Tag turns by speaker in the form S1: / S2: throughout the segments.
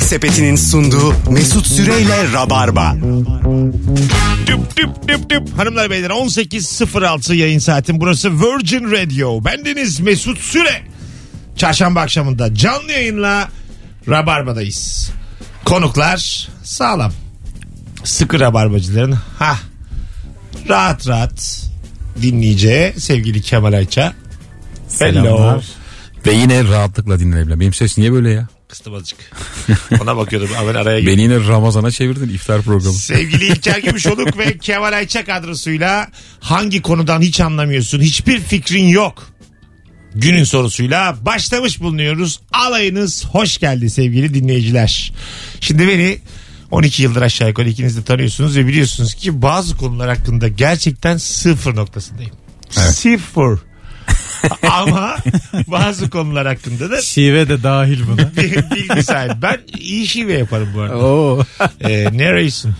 S1: Sepeti'nin sunduğu Mesut Süreyle Rabarba.
S2: Düp düp düp düp. Hanımlar beyler 18.06 yayın saatin burası Virgin Radio. Bendeniz Mesut Süre. Çarşamba akşamında canlı yayınla Rabarba'dayız. Konuklar sağlam. Sıkı Rabarbacıların ha rahat rahat dinleyeceği sevgili Kemal Ayça. Hello.
S3: Selamlar. Ve yine rahatlıkla dinlenebilen. Benim ses niye böyle ya?
S2: Kıstım azıcık. Ona bakıyordum. Hemen araya girdim.
S3: Beni yine Ramazan'a çevirdin iftar programı.
S2: Sevgili İlker Gümüşoluk ve Kemal Ayça kadrosuyla hangi konudan hiç anlamıyorsun, hiçbir fikrin yok. Günün sorusuyla başlamış bulunuyoruz. Alayınız hoş geldi sevgili dinleyiciler. Şimdi beni 12 yıldır aşağı yukarı ikiniz de tanıyorsunuz ve biliyorsunuz ki bazı konular hakkında gerçekten sıfır noktasındayım. Sıfır. Ama bazı konular hakkında da
S4: Şive de dahil buna.
S2: bilgi sahibi. Ben iyi şive yaparım bu arada.
S4: Oo.
S2: Ee, nereysin?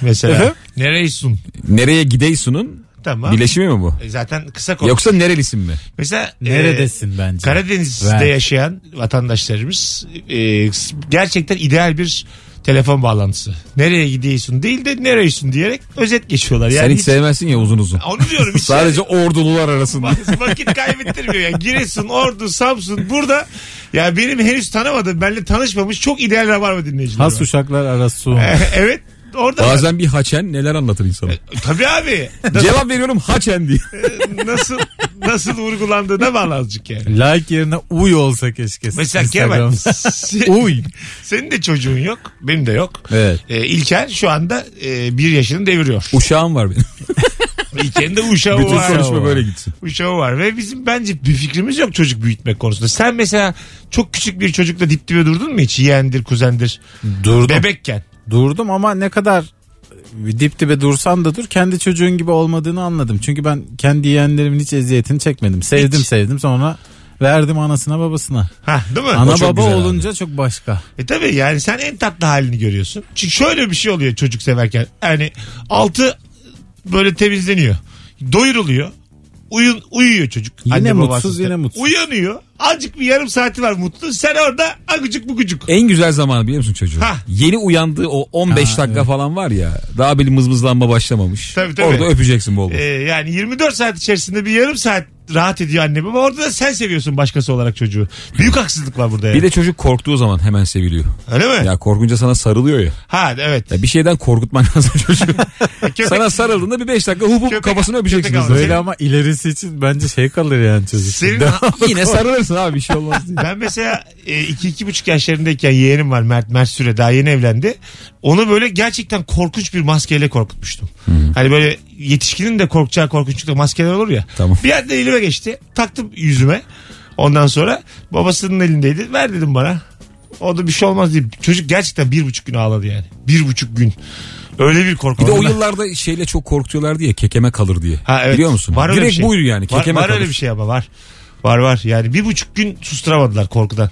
S2: Mesela.
S4: Efendim?
S2: nereysin?
S3: Nereye gideysunun
S2: Tamam.
S3: bileşimi mi bu?
S2: E, Zaten kısa konu.
S3: Yoksa nerelisin mi?
S2: Mesela e,
S4: Neredesin bence?
S2: Karadeniz'de
S4: Ver.
S2: yaşayan vatandaşlarımız e, s- gerçekten ideal bir telefon bağlantısı. Nereye gidiyorsun değil de nereysin diyerek özet geçiyorlar. Yani
S3: Sen hiç
S2: hiç-
S3: sevmezsin ya uzun uzun.
S2: onu diyorum hiç
S4: şey-
S3: Sadece ordulular arasında.
S2: Bak- vakit kaybettirmiyor ya. Giresun, Ordu, Samsun burada ya benim henüz tanımadığım, benimle tanışmamış çok ideal rabarba dinleyicileri
S4: Has
S2: var.
S4: uşaklar arası.
S2: evet. Orada
S3: Bazen bir haçen neler anlatır insana.
S2: tabii abi.
S3: Cevap veriyorum haçen diye.
S2: nasıl nasıl vurgulandığına bağlı azıcık yani.
S4: like yerine uy olsa keşke.
S2: Mesela Kemal
S4: Instagram'da.
S2: se-
S4: uy.
S2: senin de çocuğun yok benim de yok.
S3: Evet.
S2: Ee, İlker şu anda e, bir yaşını deviriyor.
S3: Uşağım var benim.
S2: İlker'in de uşağı
S3: Bütün
S2: var.
S3: konuşma böyle gitsin.
S2: Uşağı var ve bizim bence bir fikrimiz yok çocuk büyütmek konusunda. Sen mesela çok küçük bir çocukla dip dibe durdun mu hiç? Yeğendir, kuzendir.
S4: Durdum.
S2: Bebekken.
S4: Durdum ama ne kadar e, dip dibe dursan da dur kendi çocuğun gibi olmadığını anladım. Çünkü ben kendi yeğenlerimin hiç eziyetini çekmedim. Sevdim
S2: Hiç.
S4: sevdim sonra verdim anasına babasına.
S2: Ha, değil mi?
S4: Ana
S3: çok
S4: baba
S3: güzel
S4: olunca çok başka.
S2: E tabii yani sen en tatlı halini görüyorsun. Çünkü şöyle bir şey oluyor çocuk severken. Yani altı böyle temizleniyor. Doyuruluyor. Uyun, uyuyor çocuk.
S4: Yine
S2: babası
S4: mutsuz, yine mutsuz.
S2: Uyanıyor. Azıcık bir yarım saati var mutlu. Sen orada agıcık bugucuk.
S3: En güzel zamanı biliyor musun çocuğu?
S2: Ha.
S3: Yeni uyandığı o 15
S4: Ha,
S3: dakika falan var ya. Daha bir mızmızlanma başlamamış.
S2: Tabii, tabii.
S3: Orada öpeceksin bol bol.
S2: Ee, yani 24 saat içerisinde bir yarım saat rahat ediyor anne baba. Orada da sen seviyorsun başkası olarak çocuğu. Büyük haksızlık var burada yani.
S3: Bir de çocuk korktuğu zaman hemen seviliyor.
S2: Öyle mi?
S3: Ya korkunca sana sarılıyor ya.
S2: Ha evet. E,
S3: Ya bir şeyden korkutman lazım çocuğu.
S2: Köpek-
S3: sana sarıldığında bir 5 dakika hup hup
S2: Köpek-
S3: kafasını
S2: köpek
S3: öpeceksiniz.
S2: avladı.
S4: Böyle ama ilerisi için bence şey kalır yani çocuk.
S2: Senin-
S3: Yine sarılırsın abi bir şey olmaz diye.
S2: Ben mesela e, iki iki buçuk yaşlarındayken yeğenim var Mert Mert Süre daha yeni evlendi. Onu böyle gerçekten korkunç bir maskeyle korkutmuştum.
S3: Hmm.
S2: Hani böyle yetişkinin de korkacağı korkunçlukta maskeler olur ya.
S3: Tamam.
S2: Bir anda elime geçti. Taktım yüzüme. Ondan sonra babasının elindeydi. Ver dedim bana. O da bir şey olmaz diye. Çocuk gerçekten bir buçuk gün ağladı yani. Bir buçuk gün. Öyle bir korku.
S3: Bir de o yıllarda şeyle çok korkutuyorlar diye kekeme kalır diye.
S2: Ha, evet.
S3: Biliyor musun?
S2: Var öyle
S3: Direkt
S2: bir şey.
S3: buyur yani
S2: Var,
S3: kekeme
S2: var
S3: kalır.
S2: öyle bir şey ama var. Var var yani bir buçuk gün susturamadılar korkudan.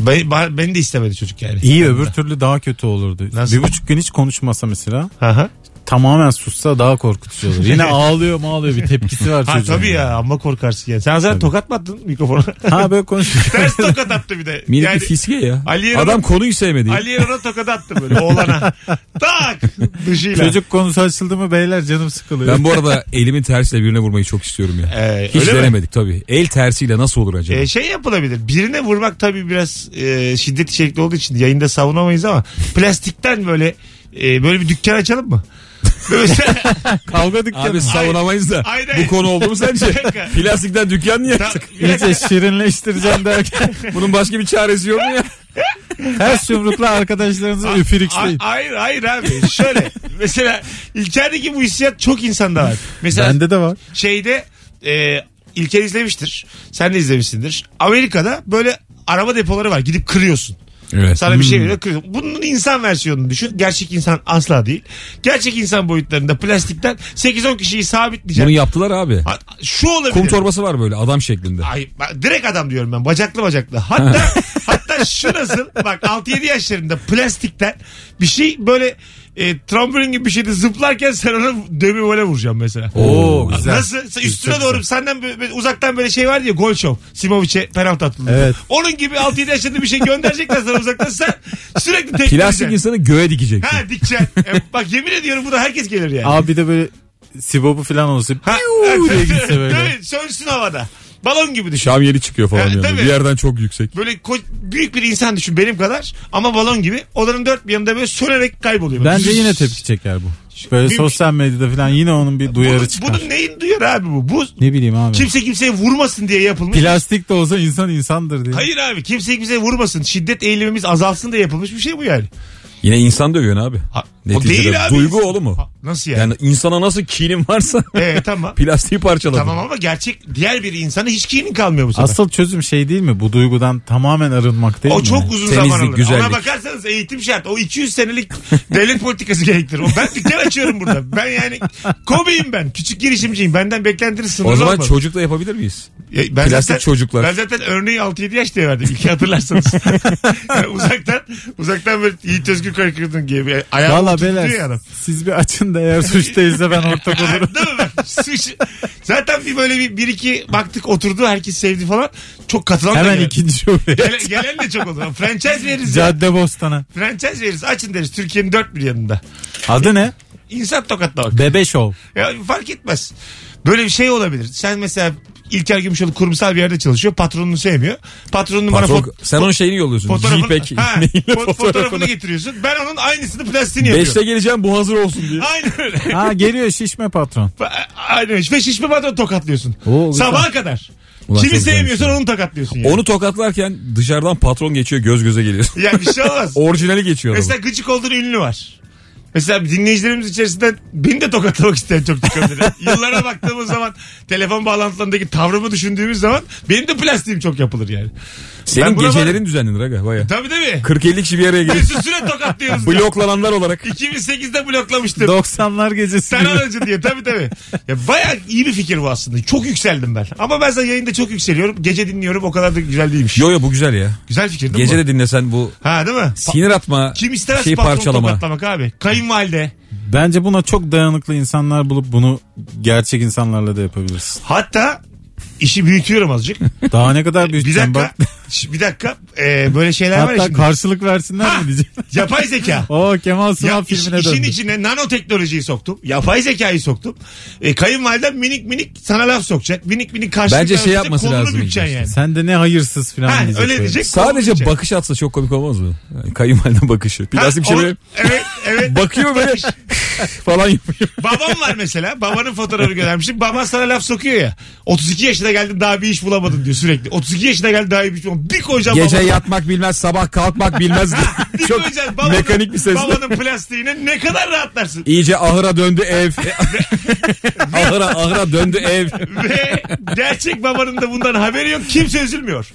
S2: Be- ba- Beni de istemedi çocuk yani.
S4: İyi öbür türlü daha kötü olurdu.
S2: Nasıl?
S4: Bir buçuk gün hiç konuşmasa mesela
S2: Aha.
S4: tamamen sussa daha korkutucu olur. Yine ağlıyor mu ağlıyor bir şey tepkisi var
S2: Ha
S4: çocuğun.
S2: tabii ya amma korkarsın yani. Sen zaten tokat mı attın mikrofona?
S4: Ha böyle konuşuyor.
S2: Ters tokat attı bir de.
S3: Minik
S2: yani,
S3: bir fiske ya.
S2: Ali Yeral'ın-
S3: Adam konuyu sevmedi.
S2: Ali Yerona tokat attı böyle oğlana. tak dışıyla.
S4: Çocuk konusu açıldı mı beyler canım sıkılıyor.
S3: Ben bu arada elimin tersiyle birine vurmayı çok istiyorum ya.
S2: Ee,
S3: Hiç
S2: öyle mi?
S3: denemedik tabii. El tersiyle nasıl olur acaba?
S2: Ee, şey yapılabilir. Birine vurmak tabii biraz e, şiddet içerikli olduğu için yayında savunamayız ama plastikten böyle e, böyle bir dükkan açalım mı? Böyle sen-
S4: Kavga dükkanı.
S3: Abi savunamayız da.
S2: Hayır,
S3: Bu
S2: hayır.
S3: konu oldu mu sence?
S2: dakika.
S3: Plastikten dükkan niye
S2: Tam-
S3: açtık?
S4: İyice şirinleştireceğim derken
S3: Bunun başka bir çaresi yok mu ya?
S4: ters yumrukla arkadaşlarınızı
S2: A-
S4: üfürükleyin.
S2: hayır hayır abi. Şöyle mesela İlker'deki bu hissiyat çok insanda var. Mesela
S4: Bende de var.
S2: şeyde e, İlker izlemiştir. Sen de izlemişsindir. Amerika'da böyle araba depoları var. Gidip kırıyorsun.
S3: Evet. Hmm.
S2: Sana bir şey veriyor kırıyorsun. Bunun insan versiyonunu düşün. Gerçek insan asla değil. Gerçek insan boyutlarında plastikten 8-10 kişiyi
S3: Bunu
S2: sabitleyecek.
S3: yaptılar abi.
S2: Ha, Şu olabilir.
S3: Kum torbası var böyle adam şeklinde.
S2: Ay, ben- direkt adam diyorum ben. Bacaklı bacaklı. Hatta hatta Hatta şurası bak 6-7 yaşlarında plastikten bir şey böyle e, trambolin gibi bir şeyde zıplarken sen ona dövme vole vuracağım mesela.
S4: Oo güzel.
S2: Nasıl? Sen Üstüne doğru senden böyle- böyle uzaktan böyle şey var ya gol şov. Simovic'e penaltı atıldı.
S4: Evet.
S2: Onun gibi 6-7 yaşında bir şey gönderecekler sana uzaktan sen sürekli
S3: Plastik
S2: tekleyeceksin.
S3: insanı göğe dikeceksin.
S2: Ha dikeceksin. E, bak yemin ediyorum bunu herkes gelir yani.
S4: Abi bir de böyle sibobu falan olsa
S2: Ha,
S4: piu diye gitse böyle.
S2: Tabii, sönsün havada. Balon gibi düşün.
S3: Şam yeri çıkıyor falan
S2: Evet,
S3: yani.
S2: tabii.
S3: Bir yerden çok yüksek.
S2: Böyle ko- büyük bir insan düşün benim kadar ama balon gibi. Odanın dört bir yanında böyle sönerek kayboluyor.
S4: Bence yine tepki çeker bu. Böyle
S2: Bir-
S4: sosyal medyada falan yine onun bir
S2: bunun,
S4: duyarı çıkar.
S2: bunun neyin duyar abi bu? Bu
S4: Ne bileyim abi.
S2: kimse kimseye vurmasın diye yapılmış.
S4: Plastik de olsa insan insandır diye.
S2: Hayır abi kimse kimseye vurmasın. Şiddet eğilimimiz azalsın diye yapılmış bir şey bu yani.
S3: Yine insan dövüyorsun abi.
S2: Ha,
S3: Neticede duygu oğlu mu?
S2: Ha, Nasıl yani?
S3: Yani insana nasıl kinin varsa
S2: Ee, tamam.
S3: plastiği parçaladın.
S2: tamam ama gerçek diğer bir insana hiç kinin kalmıyor bu sefer.
S4: Asıl çözüm şey değil mi? Bu duygudan tamamen arınmak değil
S2: o
S4: mi?
S2: çok uzun
S3: Temizlik,
S2: zaman alır.
S3: güzellik.
S2: Ona bakarsanız eğitim şart. O 200 senelik devlet politikası gerektirir. O ben dükkan açıyorum burada. Ben yani kobiyim ben. Küçük girişimciyim. Benden beklentiniz sınırlı
S3: O zaman
S2: olmalı.
S3: çocuk da yapabilir miyiz?
S2: Ya ben
S3: Plastik çocuklar.
S2: Ben zaten örneği 6-7 yaş diye verdim. İlk hatırlarsanız. Yani uzaktan uzaktan böyle Yiğit Özgür Karakırdın gibi. Ayağımı
S4: Valla
S2: tutturuyor
S4: beyler
S2: ya adam.
S4: siz bir açın da eğer suç değilse ben ortak
S2: Ha,
S4: olurum.
S2: Değil mi bak? Suç- Zaten bir böyle bir, bir iki baktık oturdu herkes sevdi falan. Çok katılan da
S4: Hemen
S2: gelen.
S4: ikinci şubeye.
S2: Gelen, gelen de çok oldu. Franchise veririz ya.
S4: Cadde Bostan'a.
S2: Franchise veririz. Açın deriz. Türkiye'nin dört bir yanında.
S4: Adı ne?
S2: İnsan tokatlamak.
S4: Bebe Show.
S2: Ya fark etmez. Böyle bir şey olabilir. Sen mesela İlker Gümüşoğlu kurumsal bir yerde çalışıyor. Patronunu sevmiyor. Patronun bana
S3: Patron,
S2: fot-
S3: sen onun şeyini yolluyorsun.
S2: fotoğrafını,
S3: JPEG
S2: Ha,
S3: maille
S2: fo-
S3: fotoğrafını.
S2: fotoğrafını getiriyorsun. Ben onun aynısını plastiğini
S3: Beşte
S2: yapıyorum.
S3: geleceğim bu hazır olsun diye.
S2: Aynen öyle.
S4: Ha geliyor şişme patron.
S2: Aynen öyle. Ve şişme patronu tokatlıyorsun.
S4: Oo, güzel.
S2: Sabaha kadar.
S3: Ulan
S2: Kimi
S3: çok
S2: sevmiyorsan
S3: güzelmiş.
S2: onu tokatlıyorsun. Yani.
S3: Onu tokatlarken dışarıdan patron geçiyor göz göze geliyorsun.
S2: Ya bir şey olmaz.
S3: Orijinali geçiyor.
S2: Mesela
S3: Mesela...
S2: gıcık olduğun ünlü var. Mesela dinleyicilerimiz içerisinden beni de tokatlamak isteyen çok çıkabilir. Yıllara baktığımız zaman telefon bağlantılarındaki tavrımı düşündüğümüz zaman benim de plastiğim çok yapılır yani. Ben
S3: Senin
S2: buna
S3: gecelerin
S2: varım.
S3: düzenlenir aga baya.
S2: Tabii tabii.
S3: 40-50 kişi bir araya gelir.
S2: Mesut Süre tokatlıyoruz. ya.
S3: Bloklananlar olarak.
S2: 2008'de bloklamıştım.
S4: 90'lar gecesi.
S2: Sen aracı diye tabii tabii. Ya bayağı iyi bir fikir bu aslında. Çok yükseldim ben. Ama ben zaten yayında çok yükseliyorum. Gece dinliyorum o kadar da güzel değilmiş.
S3: Yo yo bu güzel ya.
S2: Güzel fikir değil
S3: Gece
S2: mi?
S3: de dinlesen bu
S2: bu? Ha değil mi?
S3: sinir atma
S2: Kim istemez
S3: şeyi
S2: patron
S3: parçalama.
S2: tokatlamak abi. Kayınvalide.
S4: Bence buna çok dayanıklı insanlar bulup bunu gerçek insanlarla da yapabilirsin.
S2: Hatta işi büyütüyorum azıcık.
S4: Daha ne kadar büyük
S2: Bir dakika.
S4: bak.
S2: Şş, bir dakika. Ee, böyle şeyler var ya
S4: Hatta
S2: şimdi.
S4: karşılık versinler mi diyeceğim.
S2: Yapay zeka.
S4: O Kemal Sunal
S2: Ya iş-
S4: filmine
S2: işin
S4: döndü.
S2: içine nanoteknolojiyi soktum. Yapay zekayı soktum. E, kayınvaliden minik minik sana laf sokacak. Minik minik karşılık
S3: Bence şey
S2: verecek,
S3: yapması
S2: kolunu
S3: lazım
S2: bükeceksin
S3: işte.
S2: yani.
S4: Sen de ne hayırsız falan
S2: Ha,
S4: diyecek.
S2: öyle
S4: böyle.
S2: diyecek. kolunu
S3: Sadece
S2: bükeceksin.
S3: bakış atsa çok komik olmaz mı? Yani kayınvalide bakışı.
S2: Ha,
S3: Plastik bir şey
S2: onu-
S3: böyle
S2: Evet evet.
S3: bakıyor böyle falan yapıyor.
S2: Babam var mesela. Babanın fotoğrafını göndermişim. Baban sana laf sokuyor ya. 32 yaşına geldin daha bir iş bulamadın diyor sürekli. 32 yaşına geldin daha bir iş bulamadın. Bir koyacağım
S3: Gece
S2: babana.
S3: yatmak bilmez sabah kalkmak bilmez.
S2: Bir
S3: çok
S2: koyacaksın babanın-
S3: mekanik bir sesle.
S2: Babanın plastiğine ne kadar rahatlarsın.
S3: İyice ahıra döndü ev. ahıra ahıra döndü ev.
S2: Ve gerçek babanın da bundan haberi yok. Kimse üzülmüyor.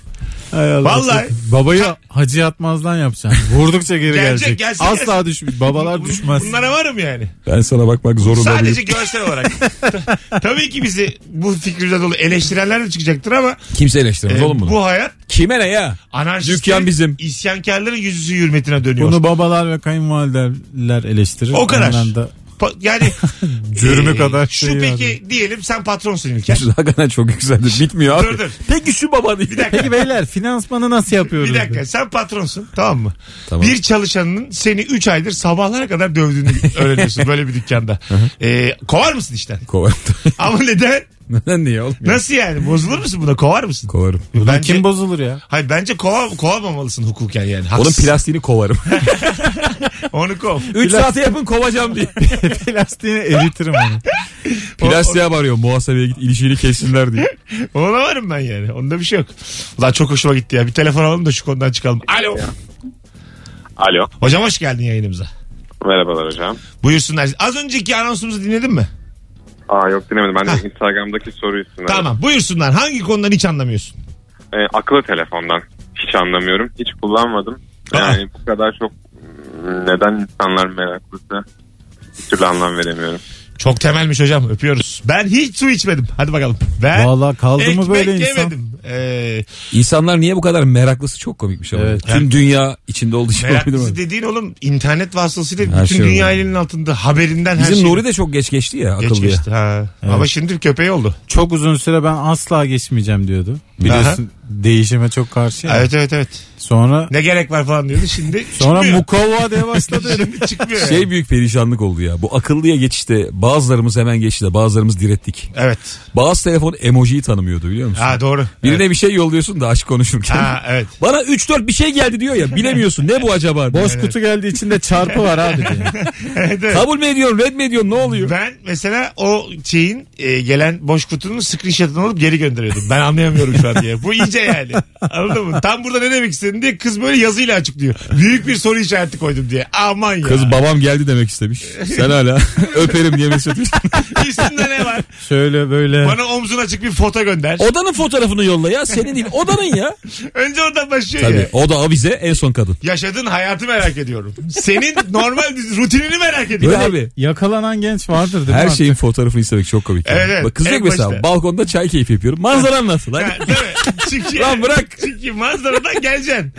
S4: Hay Allah.
S2: Vallahi.
S4: Babayı hacı yatmazdan yapacaksın. Vurdukça geri
S2: Gelecek,
S4: gelecek.
S2: gelsin,
S4: Asla düşmüş. Babalar düşmez.
S2: Bunlara varım yani.
S3: Ben sana bakmak zorunda
S2: Sadece
S3: değilim.
S2: görsel olarak. Ta- Tabii ki bizi bu fikirde dolu eleştirenler de çıkacaktır ama
S3: Kimse eleştirmez
S2: e,
S3: oğlum bunu.
S2: bu hayat
S3: Kime ne ya?
S2: anarşistlerin
S3: Dükkan bizim.
S2: isyankarların yüzüsü hürmetine dönüyor.
S4: Bunu babalar ve kayınvalideler eleştirir.
S2: O kadar.
S4: Ondan da
S2: Pa- yani
S4: Cürmü
S2: e,
S4: kadar
S2: şu
S4: şey
S2: peki
S4: yani.
S2: diyelim sen patronsun İlker.
S3: Hakikaten çok yükseldi. Bitmiyor abi.
S2: Dur, dur.
S3: Peki şu baba diye.
S2: dakika.
S4: Peki beyler finansmanı nasıl yapıyoruz?
S2: Bir dakika sen patronsun tamam mı?
S3: Tamam.
S2: Bir çalışanının seni 3 aydır sabahlara kadar dövdüğünü öğreniyorsun böyle bir dükkanda. E, kovar mısın işten?
S3: Kovarım.
S2: Ama neden?
S3: Neden niye oğlum? ya?
S2: Nasıl yani? Bozulur musun buna? Kovar mısın?
S3: Kovarım.
S4: Ulan
S2: Bence-
S4: kim bozulur ya?
S2: Hayır bence kova, kovamamalısın hukuken yani.
S3: Onun
S2: Haksız.
S3: plastiğini kovarım.
S2: Onu kov.
S3: 3 saate yapın kovacağım diye.
S4: Plastiğini eritirim onu.
S3: Plastiğe varıyor muhasebeye git ilişiğini kessinler diye.
S2: Ona varım ben yani. Onda bir şey yok. Ulan çok hoşuma gitti ya. Bir telefon alalım da şu konudan çıkalım. Alo.
S5: Alo.
S2: Hocam hoş geldin yayınımıza.
S5: Merhabalar hocam.
S2: Buyursunlar. Az önceki anonsumuzu dinledin mi?
S5: Aa yok dinlemedim. Ben de Instagram'daki soruyu üstünden.
S2: Tamam. Buyursunlar. Hangi konudan hiç anlamıyorsun?
S5: Ee, akıllı telefondan. Hiç anlamıyorum. Hiç kullanmadım. Yani bu hmm, kadar çok mm, neden insanlar meraklısı bir türlü anlam veremiyorum.
S2: Çok temelmiş hocam öpüyoruz. Ben hiç su içmedim. Hadi bakalım. Ben
S4: Vallahi kaldı mı
S2: ekmek
S4: böyle insan?
S2: yemedim. Ee,
S3: İnsanlar niye bu kadar meraklısı çok komik bir şey olabilir.
S4: Evet.
S3: Tüm dünya içinde olduğu için olabilir mi?
S2: meraklısı dediğin oğlum internet vasıtasıyla
S3: Her
S2: bütün
S3: şey
S2: dünya
S3: oldu.
S2: elinin altında haberinden her
S3: Bizim
S2: şey.
S3: Nuri de çok geç geçti ya
S2: Geç
S3: akıllıya.
S2: geçti, ha. Ama şimdi köpeği oldu.
S4: Çok uzun süre ben asla geçmeyeceğim diyordu. Biliyorsun değişime çok karşı. ya.
S2: Evet evet evet.
S4: Sonra
S2: Ne gerek var falan diyordu. Şimdi
S4: sonra
S2: çıkmıyor.
S4: mukavva diye başladı.
S2: Şimdi çıkmıyor. yani.
S3: Şey büyük perişanlık oldu ya. Bu akıllıya geçişte bazılarımız hemen geçti de bazılarımız direttik.
S2: Evet.
S3: Bazı telefon emojiyi tanımıyordu biliyor musun?
S2: Ha doğru.
S3: Birine bir şey yolluyorsun da aşk konuşurken.
S2: Ha evet.
S3: Bana 3-4 bir şey geldi diyor ya bilemiyorsun ne bu acaba? diye.
S4: Boş kutu geldi içinde çarpı var abi diye.
S2: evet, evet.
S3: Kabul mü ediyorsun red mi ediyorsun ne oluyor?
S2: Ben mesela o şeyin e, gelen boş kutunun screenshot'ını alıp geri gönderiyordum. Ben anlayamıyorum şu an diye. Bu iyice yani. Anladın mı? Tam burada ne demek istedin diye kız böyle yazıyla açıklıyor. Büyük bir soru işareti koydum diye. Aman ya.
S3: Kız babam geldi demek istemiş. Sen hala öperim diye mesaj atıyorsun.
S2: İsimde ne var?
S4: Şöyle böyle.
S2: Bana omzun açık bir foto gönder.
S3: Odanın fotoğrafını yolla ya senin değil odanın ya.
S2: Önce oradan başlıyor ya.
S3: Tabii o da avize en son kadın.
S2: Yaşadığın hayatı merak ediyorum. Senin normal rutinini merak
S3: Bir de
S2: ediyorum.
S3: abi
S4: Yakalanan genç vardır değil mi?
S3: her
S4: artık?
S3: şeyin fotoğrafını istemek çok komik. ya.
S2: Evet, evet.
S3: Bak kız diyor
S2: En
S3: ki mesela
S2: başta.
S3: balkonda çay keyfi yapıyorum. Manzaran nasıl? Hadi.
S2: Ha, değil mi? Çünkü,
S3: Lan bırak.
S2: Çünkü manzaradan geleceksin.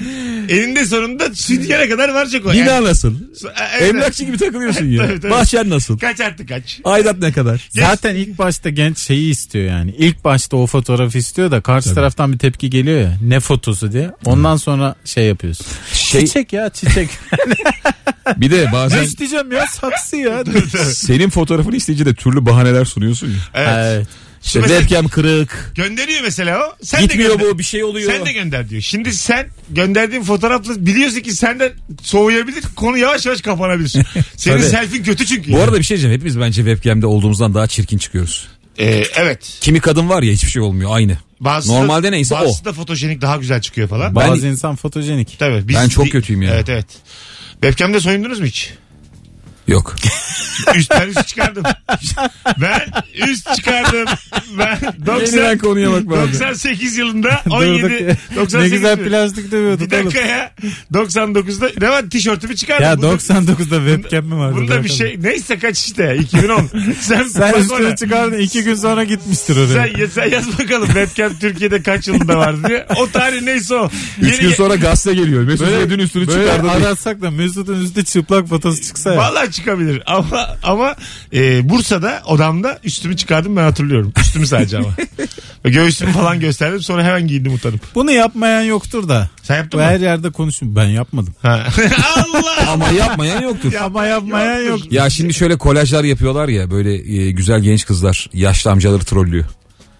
S2: Elinde sonunda süngere kadar varacak o.
S3: Bina nasıl?
S2: so- e- evet.
S3: Emlakçı gibi takılıyorsun
S2: Tabii,
S3: ya.
S2: tabii.
S3: Bahçen nasıl?
S2: Kaç artık kaç.
S3: Aidat ne kadar?
S4: Zaten ilk başta genç şeyi istiyor yani. İlk başta o fotoğrafı istiyor da karşı taraftan bir tepki geliyor ya. Ne fotosu diye. Ondan sonra şey yapıyorsun.
S3: Şey-
S4: Çiçek ya çiçek.
S3: Bir de bazen
S4: diyeceğim ya saksı ya.
S3: senin fotoğrafını isteyince de türlü bahaneler sunuyorsun ya.
S2: Evet.
S4: evet.
S3: İşte
S2: Mesela-
S3: webcam kırık.
S2: Gönderiyor mesela o. Sen de
S3: Gitmiyor
S2: gönder.
S3: bu bir şey oluyor.
S2: Sen de gönder diyor. Şimdi sen gönderdiğin fotoğrafla biliyorsun ki senden soğuyabilir. Konu yavaş yavaş kapanabilir. Senin
S3: Tabii.
S2: selfin kötü çünkü.
S3: Bu
S2: yani.
S3: arada bir şey diyeceğim. Hepimiz bence webcam'de olduğumuzdan daha çirkin çıkıyoruz.
S2: Ee, evet.
S3: Kimi kadın var ya hiçbir şey olmuyor aynı.
S2: Bazısı
S3: Normalde neyse o.
S2: bazısı da fotojenik daha güzel çıkıyor falan.
S3: Ben-
S4: Bazı insan fotojenik.
S2: Tabii, biz
S3: Ben çok
S2: di-
S3: kötüyüm yani.
S2: Evet evet. Webcam'de soyundunuz mu hiç?
S3: Yok.
S2: Üst, ben üst çıkardım. ben üst çıkardım. Ben 90,
S3: Yeniden konuya bak bari.
S2: 98 yılında
S4: Durduk.
S2: 17 98
S4: ne güzel
S2: mi?
S4: plastik dövüyorduk
S2: Bir
S4: oğlum.
S2: dakika ya. 99'da ne var tişörtümü çıkardım.
S4: Ya
S2: Bunda-
S4: 99'da webcam mi vardı?
S2: Bunda bir şey neyse kaç işte 2010. sen,
S4: Sen
S2: bak
S4: üstüne
S2: ona.
S4: çıkardın iki gün sonra gitmiştir oraya.
S2: Sen, ya- sen yaz bakalım webcam Türkiye'de kaç yılında vardı diye. O tarih neyse o.
S3: Üç
S2: Yeni-
S3: gün sonra gazete geliyor. Mesut dün üstünü
S4: Böyle
S3: çıkardı.
S4: aratsak da Mesut'un üstü çıplak fotosu çıksa ya.
S2: Vallahi çıkabilir ama ama e, Bursa'da odamda üstümü çıkardım ben hatırlıyorum. Üstümü sadece ama. Göğsümü falan gösterdim sonra hemen giyindim utanıp.
S4: Bunu yapmayan yoktur da.
S2: Sen yaptın
S4: Bu
S2: mı?
S4: her yerde konuşun. Ben yapmadım.
S2: Ha. Allah!
S3: Ama yapmayan yoktur.
S4: Ama yapmayan yok.
S2: Yoktur.
S3: Ya şimdi şöyle kolajlar yapıyorlar ya böyle e, güzel genç kızlar yaşlı amcaları trollüyor.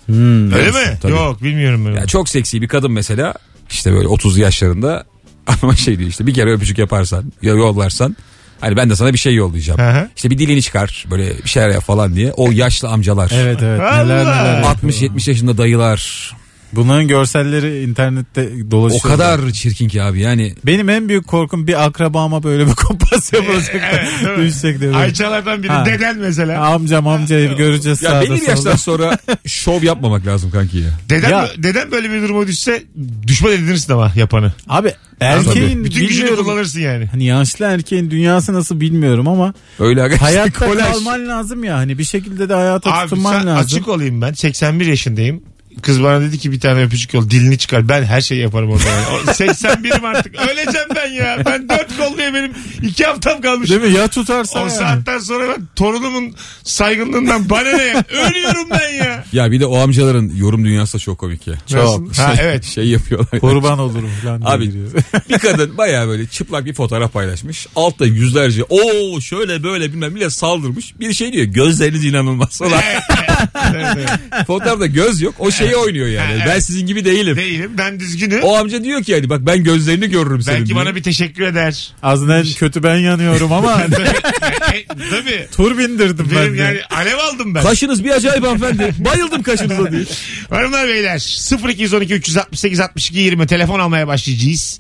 S4: Hmm.
S2: Öyle mi?
S3: Tabii.
S2: Yok bilmiyorum ben. onu.
S3: Ya çok seksi bir kadın mesela işte böyle 30 yaşlarında ama şey diyor işte bir kere öpücük yaparsan ya yollarsan hani ben de sana bir şey yollayacağım.
S2: Hı hı.
S3: İşte bir dilini çıkar böyle bir şeyler yap falan diye o yaşlı amcalar.
S4: Evet evet
S2: Allah.
S4: neler neler. yapıyor.
S3: 60-70 yaşında dayılar.
S4: Bunların görselleri internette
S3: O
S4: dolaşıyor.
S3: kadar çirkin ki abi yani.
S4: Benim en büyük korkum bir akrabama böyle bir kompas yapılacak.
S2: E, değil mi?
S4: Düşecek diye. böyle.
S2: Ayçalardan biri
S4: Ha.
S2: deden mesela.
S4: Amcam amcayı göreceğiz
S3: Ya
S4: sağda
S3: belli bir
S4: solda.
S3: yaştan sonra şov yapmamak lazım kanki ya.
S2: Deden,
S4: Ya.
S2: deden böyle bir duruma düşse düşman edinirsin ama yapanı.
S4: Abi erkeğin
S2: Bütün gücünü
S4: bilmiyorum.
S2: kullanırsın yani.
S4: Hani yaşlı erkeğin dünyası nasıl bilmiyorum ama
S3: Öyle aga.
S4: hayatta
S3: kolaj.
S4: kalman lazım ya. Hani bir şekilde de hayata
S2: Abi
S4: tutunman
S2: sen
S4: lazım.
S2: açık olayım ben 81 yaşındayım. Kız bana dedi ki bir tane öpücük yol dilini çıkar. Ben her şeyi yaparım orada. Yani. O 81'im artık. Öleceğim ben ya. Ben 4 kolluya benim 2 haftam kalmış.
S4: Değil mi? Ya tutarsa
S2: O
S4: yani.
S2: saatten sonra ben torunumun saygınlığından bana ne? Ölüyorum ben ya.
S3: Ya bir de o amcaların yorum dünyası da çok komik ya.
S2: Nasıl? Ha evet.
S3: Şey yapıyorlar.
S4: Kurban olurum falan diye
S3: Abi
S4: giriyor.
S3: bir kadın baya böyle çıplak bir fotoğraf paylaşmış. Altta yüzlerce o şöyle böyle bilmem ne saldırmış. Bir şey diyor gözleriniz inanılmaz falan. Fotoğrafta göz yok o şeyi oynuyor yani.
S2: evet.
S3: Ben sizin gibi değilim.
S2: Değilim. Ben düzgünüm.
S3: O amca diyor ki yani bak ben gözlerini görürüm senin.
S2: Belki
S3: diyor.
S2: bana bir teşekkür eder.
S4: Aslında kötü ben yanıyorum ama
S2: E, tabii.
S4: tur bindirdim ben
S2: Benim
S4: de.
S2: yani alev aldım ben.
S3: Kaşınız bir acayip hanımefendi. Bayıldım kaşınıza diyor.
S2: Hanımlar beyler 0212 368 62 20 telefon almaya başlayacağız.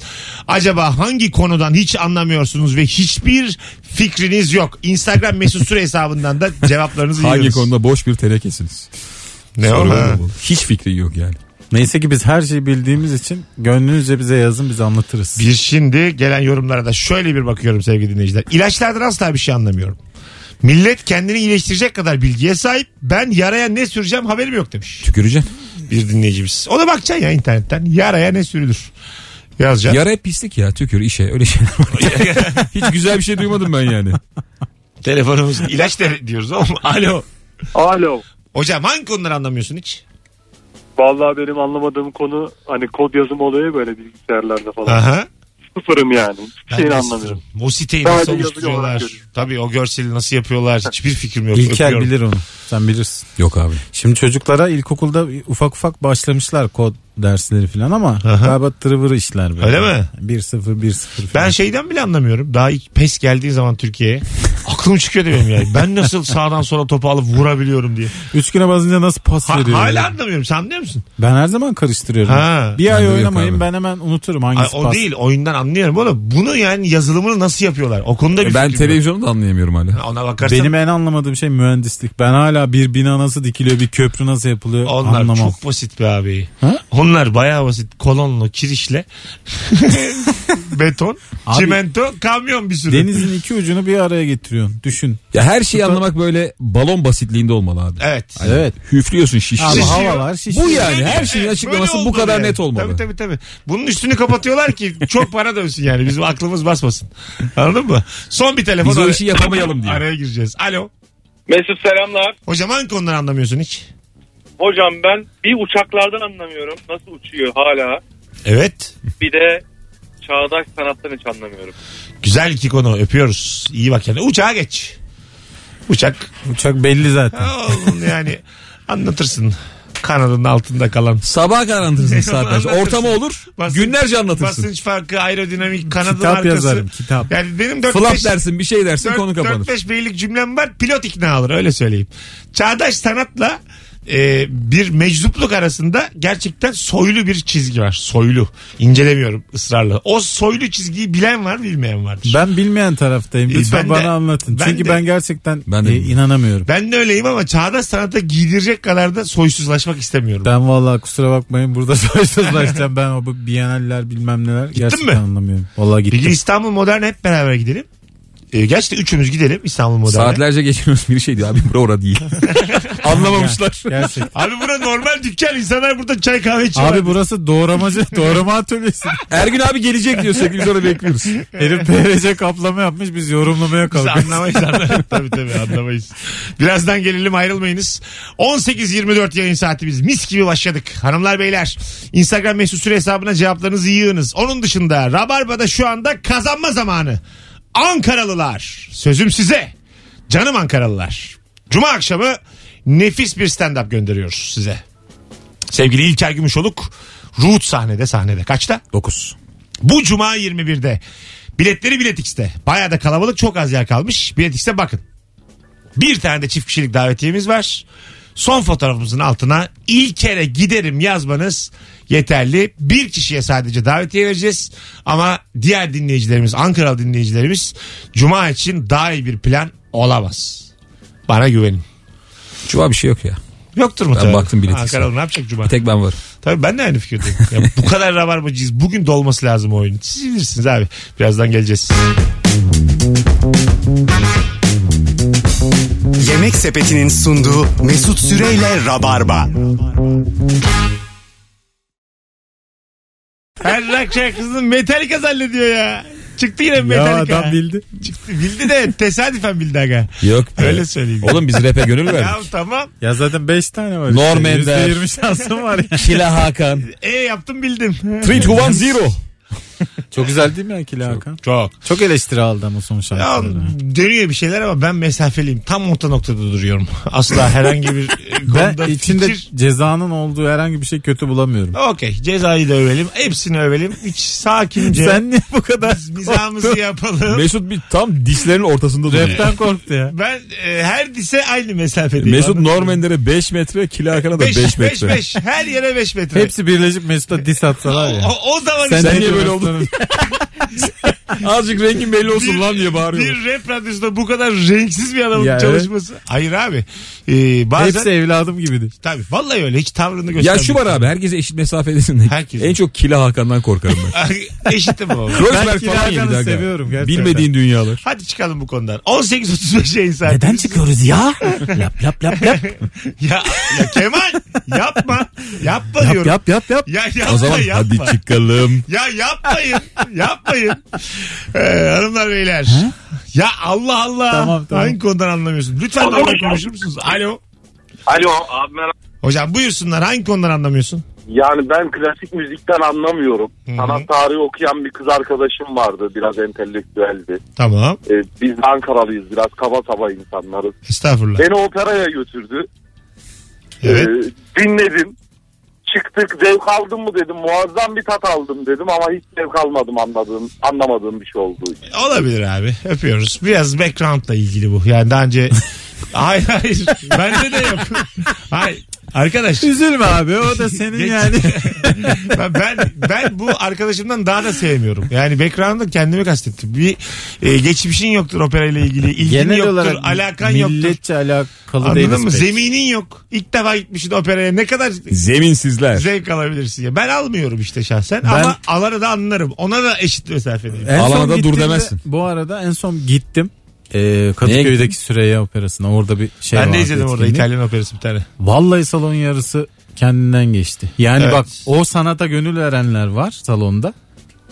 S2: Acaba hangi konudan hiç anlamıyorsunuz ve hiçbir fikriniz yok? Instagram mesut süre hesabından da cevaplarınızı
S3: Hangi
S2: yiyoruz.
S3: konuda boş bir tenekesiniz.
S2: Ne o?
S3: Doğru
S2: Ha.
S3: mu? Hiç fikri yok yani.
S4: Neyse ki biz her şeyi bildiğimiz için gönlünüzce bize yazın biz anlatırız.
S2: Bir şimdi gelen yorumlara da şöyle bir bakıyorum sevgili dinleyiciler. İlaçlardan asla bir şey anlamıyorum. Millet kendini iyileştirecek kadar bilgiye sahip. Ben yaraya ne süreceğim haberim yok demiş
S3: Tüküreceğim.
S2: bir dinleyicimiz. Ona bakacaksın ya internetten. Yaraya ne sürülür? Yazacaksın.
S3: Yara hep pislik ya. Tükür işe öyle şeyler var. Hiç güzel bir şey duymadım ben yani.
S2: Telefonumuz ilaç de diyoruz ama. Alo.
S6: Alo.
S2: Hocam hangi konuları anlamıyorsun hiç?
S6: Vallahi benim anlamadığım konu hani kod yazımı oluyor ya böyle bilgisayarlarda falan.
S2: Aha.
S6: Sıfırım yani. Hiçbir
S2: Ben
S6: şeyini
S2: de
S6: anlamıyorum.
S2: sıfırım. O siteyi
S6: Sadece
S2: nasıl
S6: yazılı olarak
S2: oluşturuyorlar?
S6: görüyorum.
S2: Tabii o görseli nasıl yapıyorlar? Hiçbir fikrim yok.
S4: İlker
S2: Öpüyorum.
S4: bilir onu. Sen bilirsin.
S3: Yok abi.
S4: Şimdi çocuklara ilkokulda ufak ufak başlamışlar kod dersleri falan ama
S2: Aha.
S4: galiba tırvırı işler böyle.
S2: Öyle mi?
S4: 1-0 1-0
S2: Ben
S4: falan.
S2: şeyden bile anlamıyorum. Daha ilk PES geldiği zaman Türkiye'ye aklım çıkıyor diyorum yani. Ben nasıl sağdan sola topu alıp vurabiliyorum diye.
S4: Üç güne bazınca nasıl pas
S2: Ha-
S4: veriyor?
S2: hala
S4: ya?
S2: anlamıyorum. Sen anlıyor musun?
S4: Ben her zaman karıştırıyorum.
S2: Ha.
S4: Bir
S3: Bende
S4: ay
S3: yok
S4: oynamayayım
S3: abi.
S4: ben hemen unuturum
S2: Ay,
S4: hangisi
S2: o
S4: pas.
S2: değil. Oyundan anlıyorum oğlum. Bunu yani yazılımını nasıl yapıyorlar? O konuda bir
S3: Ben
S2: fikrim yok.
S3: televizyonu da anlayamıyorum hala.
S2: Ona bakarsan
S4: Benim en anlamadığım şey mühendislik. Ben hala bir bina nasıl dikiliyor, bir köprü nasıl yapılıyor
S2: Onlar
S4: anlamam.
S2: çok basit be abi.
S4: Ha?
S2: Onlar bayağı basit. Kolonlu, kirişle, beton,
S4: Abi-
S2: çimento, kamyon bir sürü.
S4: Denizin iki ucunu bir araya getiriyorsun. Düşün.
S3: Ya her şeyi anlamak böyle balon basitliğinde olmalı abi.
S2: Evet.
S3: Hani
S4: Evet.
S3: Hüflüyorsun şişiyor.
S4: Abi
S2: Şişiyor.
S4: havalar şişiyor.
S3: Bu yani her şeyin
S2: Evet,
S3: açıklaması
S2: böyle
S3: bu kadar
S2: olmalı
S3: net
S2: yani.
S3: olmalı.
S2: Tabii tabii tabii. Bunun üstünü kapatıyorlar ki çok para dönsün yani. Bizim aklımız basmasın. Anladın mı? Son bir telefon.
S3: Biz o
S2: ara-
S3: işi yapamayalım diye.
S2: Araya gireceğiz. Alo.
S7: Mesut selamlar.
S2: Hocam hangi konuları anlamıyorsun hiç?
S7: Hocam ben bir uçaklardan anlamıyorum. Nasıl uçuyor hala.
S2: Evet.
S7: Bir de çağdaş sanattan hiç anlamıyorum.
S2: Güzel iki konu. Öpüyoruz. İyi bak yani. Uçağa geç. Uçak.
S4: Uçak belli zaten.
S2: Ha, Oğlum yani anlatırsın. Kanadın altında kalan
S3: Sabah kadar anlatırsın saatlerce.
S2: Anlatırsın.
S3: Ortamı olur.
S2: Basınç-
S3: günlerce anlatırsın.
S2: Basınç farkı, aerodinamik, kanadın
S4: Kitap
S2: arkası.
S4: yazarım, kitap.
S2: Yani benim
S3: Flap
S2: 4-5
S3: dersin bir şey dersin konu kapanır.
S2: 4-5 beylik cümlem var. Pilot ikna alır öyle söyleyeyim. Çağdaş sanatla e, bir meczupluk arasında gerçekten soylu bir çizgi var. Soylu. İncelemiyorum ısrarla. O soylu çizgiyi bilen var bilmeyen vardır.
S4: Ben bilmeyen taraftayım.
S2: E,
S4: Lütfen
S2: ben de-
S4: bana anlatın.
S2: ben
S4: Çünkü
S2: de-
S4: ben gerçekten
S3: Ben de-
S4: e, inanamıyorum.
S2: Ben de öyleyim ama çağdaş sanata giydirecek kadar da soysuzlaşmak istemiyorum.
S4: Ben vallahi kusura bakmayın burada soysuzlaşacağım. ben o bu biyenaller bilmem neler gerçekten
S2: mi?
S4: anlamıyorum. Vallahi gittim.
S2: Bilgi İstanbul Modern'e hep beraber gidelim. E, gerçi de üçümüz gidelim İstanbul Modern'e.
S3: Saatlerce geçiyoruz bir şey diyor abi bura ora değil. Anlamamışlar.
S4: Gerçek.
S2: Abi bura normal dükkan. insanlar burada çay kahve içiyorlar.
S4: Abi burası doğramacı, doğrama atölyesi.
S3: Ergün abi gelecek diyor sevgili biz orada bekliyoruz.
S4: Herif PRC kaplama yapmış biz yorumlamaya
S2: Biz
S4: kalkıyoruz.
S2: anlamayız anlamayız. tabii tabii anlamayız. Birazdan gelelim ayrılmayınız. 18.24 yayın saatimiz. Mis gibi başladık. Hanımlar beyler Instagram mesut süre hesabına cevaplarınızı yığınız. Onun dışında Rabarba'da şu anda kazanma zamanı. Ankaralılar sözüm size. Canım Ankaralılar. Cuma akşamı nefis bir stand-up gönderiyoruz size. Sevgili İlker Gümüşoluk Ruhut sahnede sahnede. Kaçta?
S3: 9.
S2: Bu cuma 21'de. Biletleri Bilet X'te. Bayağı da kalabalık çok az yer kalmış. Bilet X'te bakın. Bir tane de çift kişilik davetiyemiz var. Son fotoğrafımızın altına ilk kere giderim yazmanız yeterli. Bir kişiye sadece davetiye vereceğiz. Ama diğer dinleyicilerimiz, Ankaralı dinleyicilerimiz Cuma için daha iyi bir plan olamaz. Bana güvenin.
S3: Cuma bir şey yok ya.
S2: Yoktur mu?
S3: Ben
S2: tabii?
S3: baktım Bilet X'e.
S2: Ankaralı ne yapacak Cuma?
S3: Bir tek ben varım.
S2: Tabii ben de aynı fikirdeyim. Ya bu kadar rabarbacıyız. Bugün dolması lazım o oyunun. Siz bilirsiniz abi. Birazdan geleceğiz.
S1: Yemek Sepeti'nin sunduğu Mesut Süreyle Rabarba.
S2: Her rock şarkısını Metallica zannediyor ya. Çıktı yine
S4: Ya
S2: Metallica.
S4: adam bildi.
S2: Çıktı. Bildi de tesadüfen bildi aga.
S3: Yok be.
S2: Öyle söyleyeyim.
S3: Oğlum biz rap'e gönül
S2: Ya
S4: şey?
S3: verdik.
S2: tamam.
S4: Ya zaten 5 tane var.
S3: Norm Ender.
S4: %20 şansım var. ya.
S3: Kila Hakan.
S2: E yaptım bildim.
S3: 3, 2, 1, 0.
S4: Çok güzel değil mi Akil Hakan?
S2: Çok.
S4: Çok eleştiri aldı ama son
S2: Ya,
S4: şarkıları.
S2: dönüyor bir şeyler ama ben mesafeliyim. Tam orta noktada duruyorum. Asla herhangi bir e,
S4: Ben
S2: konuda
S4: içinde
S2: fikir-
S4: cezanın olduğu herhangi bir şey kötü bulamıyorum.
S2: Okey cezayı da övelim. Hepsini övelim. Hiç sakince.
S4: Sen niye bu kadar
S2: biz mizahımızı yapalım.
S3: Mesut bir tam dislerin ortasında duruyor.
S4: rapten korktu ya?
S2: Ben e, her dise aynı mesafedeyim.
S3: E, Mesut Normender'e 5 metre, Kila Hakan'a da 5
S2: 5
S3: metre.
S2: 5 her yere 5 metre.
S4: Hepsi birleşip Mesut'a diss atsalar ya.
S2: o, o zaman
S4: Sen
S2: işte
S4: niye
S3: böyle
S4: oldun?
S3: Azıcık rengin belli olsun
S2: Bir-
S3: lan diye bağırıyor.
S2: Bir rap radyosunda bu kadar renksiz bir adamın
S4: Ya evet.
S2: çalışması. Hayır abi. Ee, bazen
S4: Hepsi evladım gibidir.
S2: tabii vallahi öyle hiç tavrını göstermiyor.
S3: Ya şu var abi herkese eşit mesafedesin.
S2: Herkese.
S3: En çok kila Hakan'dan korkarım ben.
S2: Eşitim o.
S3: Rosenberg
S4: Kila
S3: falan yedi
S4: Hakan'ı
S3: aga.
S4: seviyorum gerçekten.
S3: Bilmediğin dünyalar.
S2: Hadi çıkalım bu konudan. 18.35 yayın saati.
S4: Neden çıkıyoruz ya? Yap yap yap yap.
S2: Ya, ya Kemal yapma. Yapma
S4: Yap
S2: diyorum.
S4: yap yap yap.
S2: Ya yapma
S3: O zaman
S2: yapma.
S3: hadi çıkalım.
S2: Ya yapmayın. yapmayın. Ee, hanımlar beyler. Ya Allah Allah.
S4: Tamam, tamam.
S2: Hangi konudan anlamıyorsun? Lütfen normal konuşur musunuz? Alo.
S5: Alo abi merhaba.
S2: Hocam buyursunlar hangi konudan anlamıyorsun?
S5: Yani ben klasik müzikten anlamıyorum.
S2: Hı hı.
S5: Sanat tarihi okuyan bir kız arkadaşım vardı. Biraz entelektüeldi.
S2: Tamam.
S5: Ee, biz Ankaralıyız. Biraz kaba saba insanlarız.
S2: Estağfurullah.
S5: Beni operaya götürdü.
S2: Evet.
S5: Ee, dinledim. Çıktık zevk aldın mı dedim. Muazzam bir tat aldım dedim ama hiç zevk almadım anladığım, anlamadığım bir şey olduğu için.
S2: Olabilir abi. Öpüyoruz. Biraz background'la ilgili bu. Yani daha önce... hayır hayır. Bende de yok. hayır. Arkadaş
S4: Üzülme abi o da senin
S2: Geç.
S4: yani.
S2: ben, ben ben bu arkadaşımdan daha da sevmiyorum. Yani background'ı kendimi kastettim. Bir e, geçmişin yoktur operayla ilgili. ilgin
S4: Genel
S2: yoktur.
S4: olarak
S2: alakan yoktur.
S4: milletçe alakalı değiliz.
S2: Anladın mı?
S4: pek.
S2: Zeminin yok. İlk defa gitmişsin operaya. Ne kadar
S3: Zeminsizler.
S2: zevk alabilirsin ya. Ben almıyorum işte şahsen ama alanı da anlarım. Ona da eşit mesafedeyim.
S4: En son
S3: Alana da dur
S4: gittiğimde-
S3: demezsin.
S4: Bu arada en son gittim. Ee, Kadıköy'deki Süreyya Operası'na orada bir şey
S2: ben
S4: vardı,
S2: de izledim orada
S4: etkinlik.
S2: İtalyan operası bir tane.
S4: Vallahi salon yarısı kendinden geçti. Yani
S2: Evet.
S4: bak o sanata gönül verenler var salonda.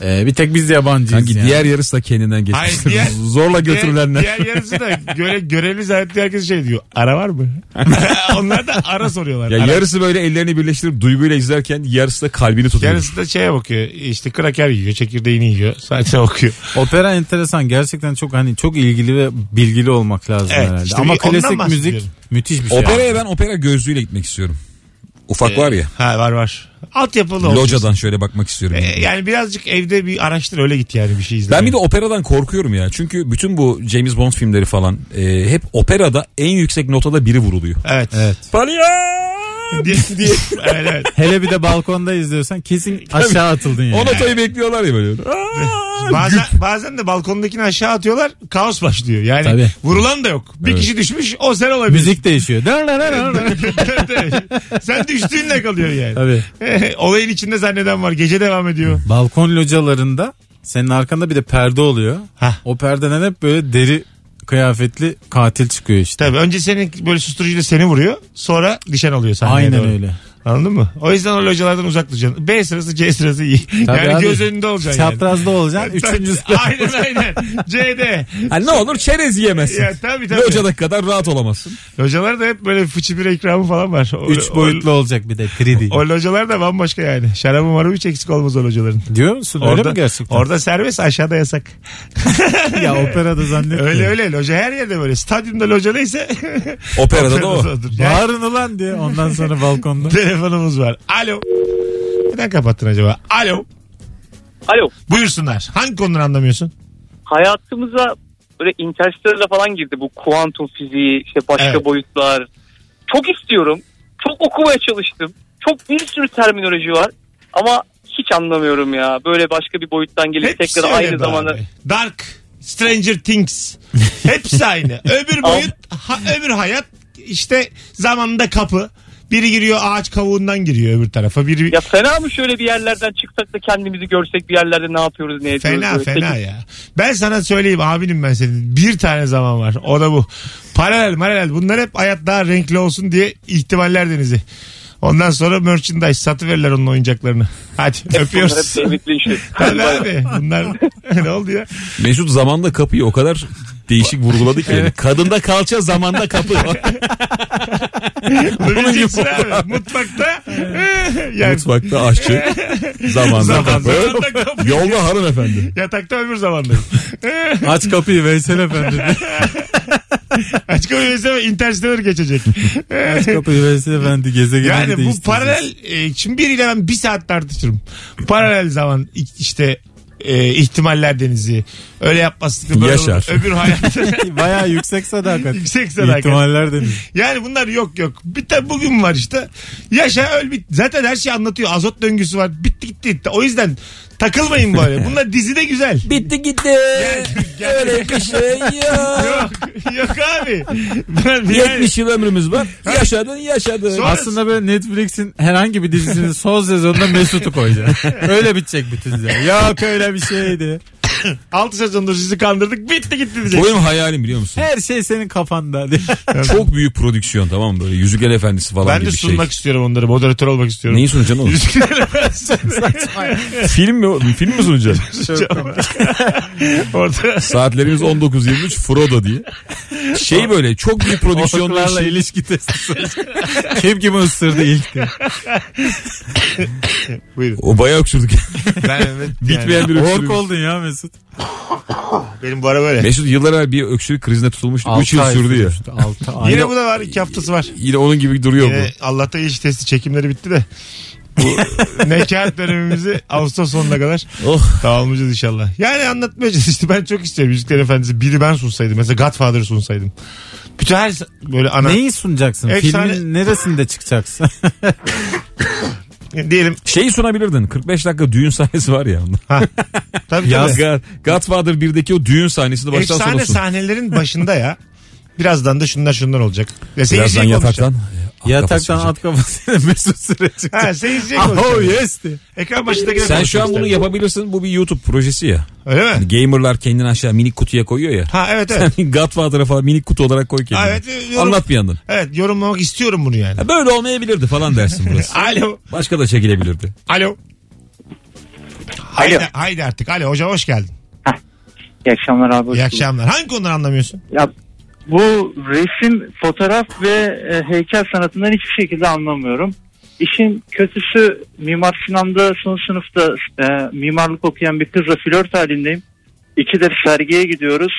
S4: Ee, bir tek biz yabancıyız
S3: Sanki
S4: yani.
S3: diğer yarısı da kendinden
S2: Hayır,
S3: geçmiştir.
S2: diğer-
S3: Zorla götürülenler.
S2: Diğer, diğer yarısı da göre, görevli zannettiği herkes şey diyor. Ara var mı? Onlar da ara soruyorlar.
S3: Ya
S2: Ara-
S3: yarısı böyle ellerini birleştirip duyguyla izlerken yarısı da kalbini tutuyor.
S2: Yarısı da şeye bakıyor. İşte kraker yiyor, çekirdeğini yiyor. Sadece okuyor.
S4: Opera enteresan gerçekten çok hani çok ilgili ve bilgili olmak lazım
S2: Evet,
S4: herhalde.
S2: işte
S4: Ama
S2: bir- ondan
S4: klasik
S2: bahsediyorum.
S4: müzik müthiş bir şey.
S3: Operaya ben opera gözlüğüyle gitmek istiyorum.
S2: Ee,
S3: Ufak var ya.
S2: Ha var var. Altyapılı olsun.
S3: Locadan şöyle bakmak istiyorum.
S2: E, yani birazcık evde bir araştır öyle git yani bir şey izle.
S3: Ben bir de operadan korkuyorum ya. Çünkü bütün bu James Bond filmleri falan e, hep operada en yüksek notada biri vuruluyor.
S2: Evet.
S4: Evet.
S3: Palya!
S2: diye, diye, evet, evet.
S4: Hele bir de balkonda izliyorsan kesin aşağı atıldın yani.
S3: O notayı bekliyorlar ya böyle. Aa!
S2: Bazen, bazen de balkondakini aşağı atıyorlar kaos başlıyor. Yani
S4: Tabii.
S2: vurulan da yok. Bir kişi düşmüş o sen olabilir.
S4: Müzik değişiyor.
S2: sen düştüğünle kalıyor yani.
S4: Tabii.
S2: Olayın içinde zanneden var. Gece devam ediyor.
S4: Balkon localarında senin arkanda bir de perde oluyor.
S2: Hah.
S4: O perdeden hep böyle deri kıyafetli katil çıkıyor işte.
S2: Tabii önce senin böyle susturucuyla seni vuruyor. Sonra nişan alıyor sahneye
S4: Aynen
S2: doğru.
S4: öyle.
S2: Anladın mı? O yüzden o localardan uzak duracaksın. B sırası C sırası iyi. yani
S4: abi.
S2: göz önünde olacaksın yani.
S4: Çaprazda olacaksın. Üçüncü
S2: aynen aynen. C'de.
S3: Ha, ne olur çerez yiyemezsin.
S2: Ya, tabii, tabii.
S3: Locadaki kadar rahat olamazsın.
S2: Localarda hep böyle fıçı bir ikramı falan var. O,
S4: Üç boyutlu olacak bir de 3D.
S2: O, o localar da bambaşka yani. Şarabı marabı hiç eksik olmaz o locaların.
S4: Diyor musun?
S2: Orada,
S4: öyle mi gerçekten?
S2: Orada serbest aşağıda yasak.
S4: ya operada zannetmiyorum.
S2: Öyle öyle loca her yerde böyle. Stadyumda loca neyse.
S3: Operada da o.
S2: odur. Yani
S4: Bağırın ulan diye ondan sonra balkonda.
S2: telefonumuz var. Alo. Neden kapattın acaba? Alo.
S7: Alo.
S2: Buyursunlar. Hangi konuları anlamıyorsun?
S7: Hayatımıza böyle Interstellar'la falan girdi bu kuantum fiziği, işte başka
S2: Evet.
S7: boyutlar. Çok istiyorum. Çok okumaya çalıştım. Çok bir sürü terminoloji var. Ama hiç anlamıyorum ya. Böyle başka bir boyuttan gelip
S2: Hepsi
S7: tekrar
S2: öyle
S7: aynı
S2: be
S7: zamanda
S2: abi. Dark, Stranger Things. Hepsi aynı. Öbür boyut, ha- öbür hayat işte zamanda kapı. Biri giriyor ağaç kavuğundan giriyor öbür tarafa. Biri
S7: Ya fena mı şöyle bir yerlerden çıksak da kendimizi görsek bir yerlerde ne yapıyoruz ne ediyoruz.
S2: Fena
S7: böyle?
S2: fena ya. Ben sana söyleyeyim abinim ben senin. Bir tane zaman var. O da bu. Paralel paralel. Bunlar hep hayat daha renkli olsun diye ihtimaller denizi. Ondan sonra merchandise satıverirler onun oyuncaklarını. Hadi
S7: Bunlar hep
S2: öpüyoruz.
S7: David Lynch'li.
S2: Tabii abi. Bunlar ne oldu ya?
S3: Mesut zamanda kapıyı o kadar değişik vurguladı ki. yani. Kadında kalça zamanda kapı. Bunun gibi
S2: Öleceksin abi. Mutfakta. yani
S3: Mutfakta aşçı. Zamanda
S2: Zaman-
S3: kapı.
S2: zamanda kapı.
S3: Yolda hanımefendi.
S2: yatakta öbür zamandayım.
S4: Aç kapıyı Veysel Efendi.
S2: Açık bir mesele Interstellar geçecek.
S4: Aç kapıyı Veysel Efendi. Gezegeni
S2: Yani bu paralel e, şimdi biriyle ben bir saat tartışırım. Paralel zaman i- işte e, ihtimaller denizi. Öyle yapmasın. Böyle
S3: Yaşar.
S2: olur. Öbür hayat.
S4: Baya yüksek sadakat.
S2: Yüksek sadakat.
S4: İhtimaller deniz.
S2: yani bunlar yok yok. Bir tane bugün var işte. Yaşa öl bit. Zaten her şeyi anlatıyor. Azot döngüsü var. Bitti gitti. gitti. O yüzden takılmayın böyle. Bunlar dizide güzel.
S3: Bitti gitti. Öyle bir şey yok.
S2: yok. Yok abi. Ben yani-
S3: 70 yıl ömrümüz var. Yaşadın yaşadın.
S2: Sonra-
S4: Aslında böyle Netflix'in herhangi bir dizisinin son sezonunda Mesut'u koyacak. Öyle bitecek bütün dizi. Yok öyle bir şeydi.
S2: 6 sezondur sizi kandırdık. Bitti gitti diyecek.
S3: Bu benim hayalim biliyor musun?
S4: Her şey senin kafanda. diye.
S3: Çok büyük prodüksiyon tamam mı? Böyle Yüzükler Efendisi falan
S2: Ben de
S3: gibi şey.
S2: sunmak istiyorum onları. Moderatör olmak istiyorum.
S3: Neyi sunacaksın oğlum?
S2: Yüzükler Efendisi.
S3: film mi? oğlum? Film mi sunacaksın?
S2: Orada
S3: Saatlerimiz 19.23 Frodo diye. Şey böyle çok şey- büyük prodüksiyonlu
S4: Ortaklarla
S3: işi.
S4: ilişki testi. Kim kimi ısırdı ilk diye.
S2: Buyurun.
S3: O bayağı öksürdük.
S2: Ben evet.
S3: Bitmeyen bir
S4: Ork
S3: öksürük.
S4: oldun ya Mesut.
S2: Benim bu ara böyle.
S3: Mesut yıllar evvel bir öksürük krizine tutulmuştu. 3 yıl sürdü ya.
S4: 6 ay.
S2: Yine bu da var. iki haftası var.
S3: Yine onun gibi duruyor
S2: Yine Allah'ta iş testi çekimleri bitti de. Bu nekaat dönemimizi Ağustos sonuna kadar
S3: bu. Oh.
S2: tamamlayacağız inşallah. Yani anlatmayacağız işte ben çok isterim. Yüzükler Efendisi biri ben sunsaydım. Mesela Godfather'ı sunsaydım. Bütün her böyle ana
S4: Neyi sunacaksın?
S2: Efsane-
S4: Filmin neresinde çıkacaksın?
S2: diyelim.
S3: Şeyi sunabilirdin. 45 dakika düğün sahnesi var ya.
S2: Tabii
S3: Yaz.
S2: tabii.
S3: Godfather 1'deki o düğün sahnesini baştan sona
S2: Efsane
S3: sun.
S2: sahnelerin başında ya. Birazdan da şunlar şunlar olacak. Ya
S3: Birazdan
S2: seyirciye konuşacağım.
S3: yataktan. Ah,
S4: Yataktan at kafasıyla Mesut Süre çıktı.
S2: Ha seyirciye
S4: Oh
S2: konuşacağım.
S4: yes diye.
S2: Ekran başındaki
S3: Sen şu an bunu yapabilirsin. Bu bir YouTube projesi ya.
S2: Öyle mi?
S3: Gamerlar kendini aşağı minik kutuya koyuyor ya.
S2: Ha evet evet.
S3: Sen Godfather'a falan minik kutu olarak koy kendini.
S2: Ha, evet, yorum-
S3: Anlat bir yandan.
S2: Evet yorumlamak istiyorum bunu yani.
S3: Ya Böyle olmayabilirdi falan dersin burası.
S2: Alo.
S3: Başka da çekilebilirdi.
S2: Alo. Haydi, haydi artık. Alo hocam hoş geldin.
S8: İyi akşamlar abi. hoş
S2: İyi
S8: bulduk.
S2: akşamlar. Hangi konuları anlamıyorsun?
S8: Ya, bu resim, fotoğraf ve e, heykel sanatından hiçbir şekilde anlamıyorum. İşin kötüsü Mimar Sinan'da son sınıfta e, mimarlık okuyan bir kızla flört halindeyim. İkidir sergiye gidiyoruz.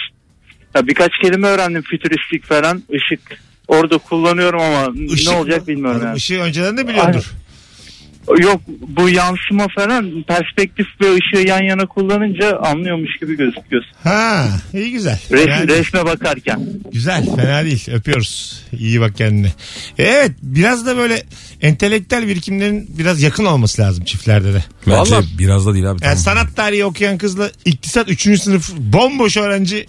S8: Ya, birkaç kelime öğrendim fütüristik falan. Işık orada kullanıyorum ama
S2: Işık
S8: ne olacak
S2: mı?
S8: bilmiyorum
S2: Oğlum,
S8: yani.
S2: Işığı önceden de biliyordur.
S8: Yok bu yansıma falan perspektif ve ışığı yan yana kullanınca anlıyormuş gibi gözüküyorsun.
S2: Ha iyi güzel.
S8: Resme,
S2: Yani
S8: resme bakarken.
S2: güzel fena değil. Öpüyoruz. İyi bak kendine. E, Evet biraz da böyle entelektüel birikimlerin biraz yakın olması lazım çiftlerde de.
S3: Bence biraz da değil abi.
S2: Yani
S3: tamam.
S2: sanat tarihi okuyan kızla iktisat 3. sınıf bomboş öğrenci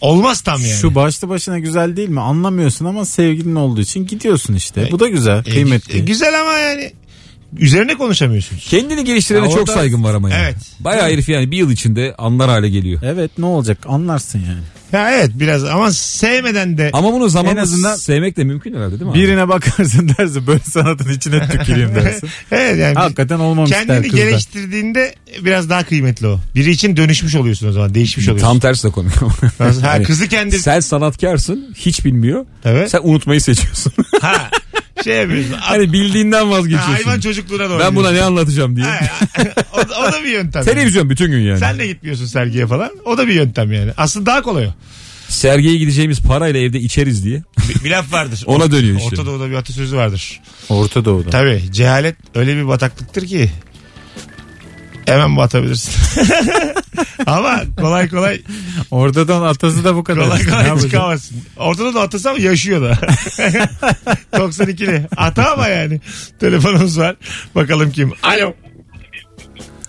S2: olmaz tam yani.
S4: Şu başlı başına güzel değil mi? Anlamıyorsun ama sevgilin olduğu için gidiyorsun işte. Bu da güzel,
S2: E,
S4: kıymetli.
S2: e, güzel ama yani üzerine konuşamıyorsunuz.
S3: Kendini geliştirene
S4: Ya
S3: çok
S4: orada-
S3: saygın var ama yani.
S2: Evet.
S3: Bayağı herif yani bir yıl içinde anlar hale geliyor.
S4: evet ne olacak anlarsın yani.
S2: Ya evet biraz ama sevmeden de
S3: Ama bunu zamanla
S4: En azından-
S3: sevmek de mümkün herhalde değil mi? abi?
S4: Birine bakarsın dersin böyle sanatın içine tüküreyim dersin.
S2: evet yani
S4: Hakikaten olmamış der
S2: kendini
S4: kızda.
S2: geliştirdiğinde biraz daha kıymetli o. Biri için dönüşmüş oluyorsun o zaman. Değişmiş
S3: Tam
S2: oluyorsun.
S3: tersi de komik.
S2: Nasıl? Ha,
S3: Yani
S2: kızı kendi
S3: Sen sanatkarsın hiç bilmiyor.
S2: Evet.
S3: Sen unutmayı seçiyorsun.
S2: ha, şey yapıyorsun. Ha,
S3: hani bildiğinden
S2: hayvan
S3: vazgeçiyorsun.
S2: çocukluğuna doğru.
S3: Ben buna ne
S2: gidiyorsun.
S3: anlatacağım diye.
S2: Ha, o, da- o da bir yöntem. yani.
S3: Televizyon bütün gün yani.
S2: Sen de gitmiyorsun sergiye falan. O da bir yöntem yani. Aslında daha kolay o.
S3: Sergiye gideceğimiz parayla evde içeriz diye.
S2: Bir, bir laf vardır.
S3: Ona dönüyor işte.
S2: Orta Doğu'da bir atasözü vardır.
S4: Orta Doğu'da.
S2: Tabii cehalet öyle bir bataklıktır ki hemen batabilirsin. Ama kolay kolay
S4: Ortadan atası da bu kadar.
S2: kolay
S4: Ne
S2: kolay
S4: yapacak?
S2: çıkamazsın. Ortada da atası ama yaşıyor da. 92'li. Ata ama yani. Telefonumuz var. Bakalım kim. Alo.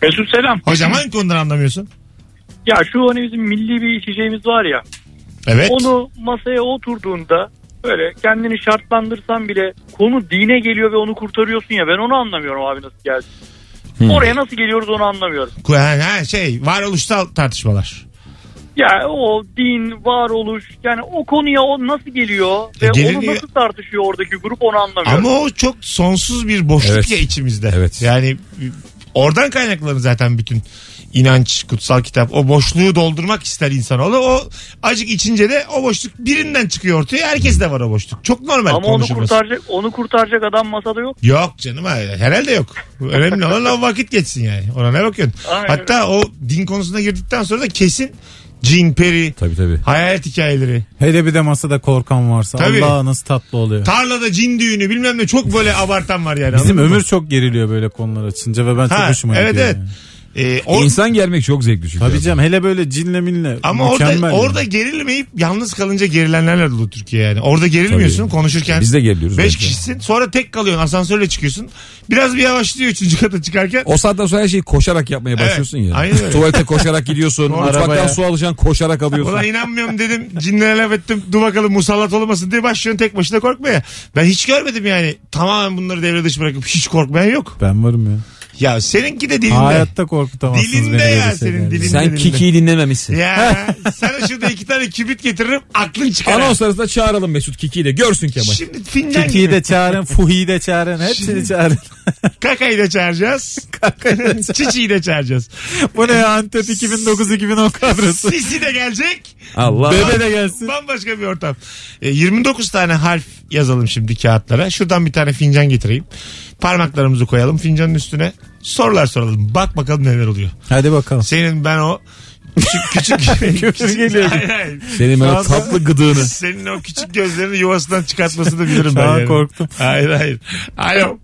S9: Mesut selam.
S2: Hocam hangi konudan anlamıyorsun?
S9: Ya şu hani bizim milli bir içeceğimiz var ya.
S2: Evet.
S9: Onu masaya oturduğunda böyle kendini şartlandırsan bile konu dine geliyor ve onu kurtarıyorsun ya. Ben onu anlamıyorum abi nasıl geldi.
S2: Hmm.
S9: Oraya nasıl geliyoruz onu anlamıyorum.
S2: Ku- Ha, ha, şey varoluşsal tartışmalar.
S9: Ya o din, varoluş yani o konuya o nasıl geliyor ve
S2: E, gelir
S9: onu
S2: ya.
S9: nasıl tartışıyor oradaki grup onu anlamıyorum.
S2: Ama o çok sonsuz bir boşluk
S3: Evet.
S2: ya içimizde.
S3: Evet.
S2: Yani ıı, oradan kaynaklanır zaten bütün inanç, kutsal kitap. O boşluğu doldurmak ister insanoğlu. O acık içince de o boşluk birinden çıkıyor ortaya. Herkes de var o boşluk. Çok normal
S9: Ama onu
S2: konuşulması.
S9: kurtaracak onu kurtaracak adam masada yok.
S2: Yok canım hayır. herhalde yok. Önemli olan o vakit geçsin yani. Ona ne bakıyorsun?
S9: Aynen.
S2: Hatta o din konusuna girdikten sonra da kesin Jean Perry,
S3: Tabii tabii.
S2: hayalet hikayeleri,
S4: Hele bir de masada korkan varsa
S2: Tabii.
S4: Allah nasıl tatlı oluyor.
S2: tarlada cin düğünü bilmem ne çok böyle abartan var yani.
S4: Bizim
S2: anladın mı?
S4: ömür çok geriliyor böyle konular açınca ve ben çok
S2: Ha,
S4: hoşuma
S2: evet
S4: gidiyor.
S2: evet.
S4: yani.
S2: Ee, o-
S3: İnsan E, gelmek çok zevkli çünkü.
S4: Tabii canım hele böyle cinle minle.
S2: ama
S4: mükemmel
S2: orada
S4: yani.
S2: orada gerilmeyip yalnız kalınca gerilenlerle dolu Türkiye yani. Orada gerilmiyorsun
S3: Tabii.
S2: konuşurken.
S3: Biz de geriliyoruz.
S2: 5
S3: bence.
S2: kişisin sonra tek kalıyorsun asansörle çıkıyorsun. Biraz bir yavaşlıyor 3. kata çıkarken.
S3: O saatten sonra her şeyi koşarak yapmaya
S2: Evet,
S3: başlıyorsun ya.
S2: aynen öyle.
S3: Tuvalete koşarak gidiyorsun.
S4: Doğru.
S3: mutfaktan
S4: Arabaya.
S3: su alacaksın koşarak alıyorsun.
S2: Ulan inanmıyorum dedim. Cinlere laf ettim. Dur bakalım musallat olmasın diye başlıyorsun tek başına korkmaya. Ben hiç görmedim yani. Tamamen bunları devre dışı bırakıp hiç korkmayan yok.
S4: Ben varım ya.
S2: Ya seninki de dilinde.
S4: Hayatta korkutamazsınız
S2: Dilinde
S4: beni.
S2: ya
S4: böyle
S2: senin
S4: şeylerle.
S2: dilin.
S3: Sen Kiki'yi dinlememişsin.
S2: Ya sana şurada iki tane kibrit getiririm aklın çıkar.
S3: Anons arasında çağıralım Mesut Kiki'yi de görsün Kemal.
S2: Şimdi Fincan
S4: Kiki'yi
S2: gibi.
S4: de çağırın, Fuhi'yi de çağırın, hepsini çağırın.
S2: Kaka'yı da çağıracağız. Çiçi'yi de çağıracağız.
S4: Bu ne ya Antep 2009-2010 kadrosu.
S2: Sisi de gelecek.
S3: Allah.
S4: Bebe de gelsin.
S2: Bambaşka bir ortam. E, 29 tane harf yazalım şimdi kağıtlara. Şuradan bir tane fincan getireyim. Parmaklarımızı koyalım fincanın üstüne. Sorular soralım. Bak bakalım neler oluyor.
S4: Hadi bakalım.
S2: Senin ben o küçük küçük küçük-
S4: geliyor.
S2: Hayır, hayır.
S3: Senin böyle tatlı gıdığını.
S2: Senin o küçük gözlerini yuvasından çıkartmasını bilirim ben.
S4: an
S2: yani.
S4: korktum.
S2: Hayır hayır. Alo.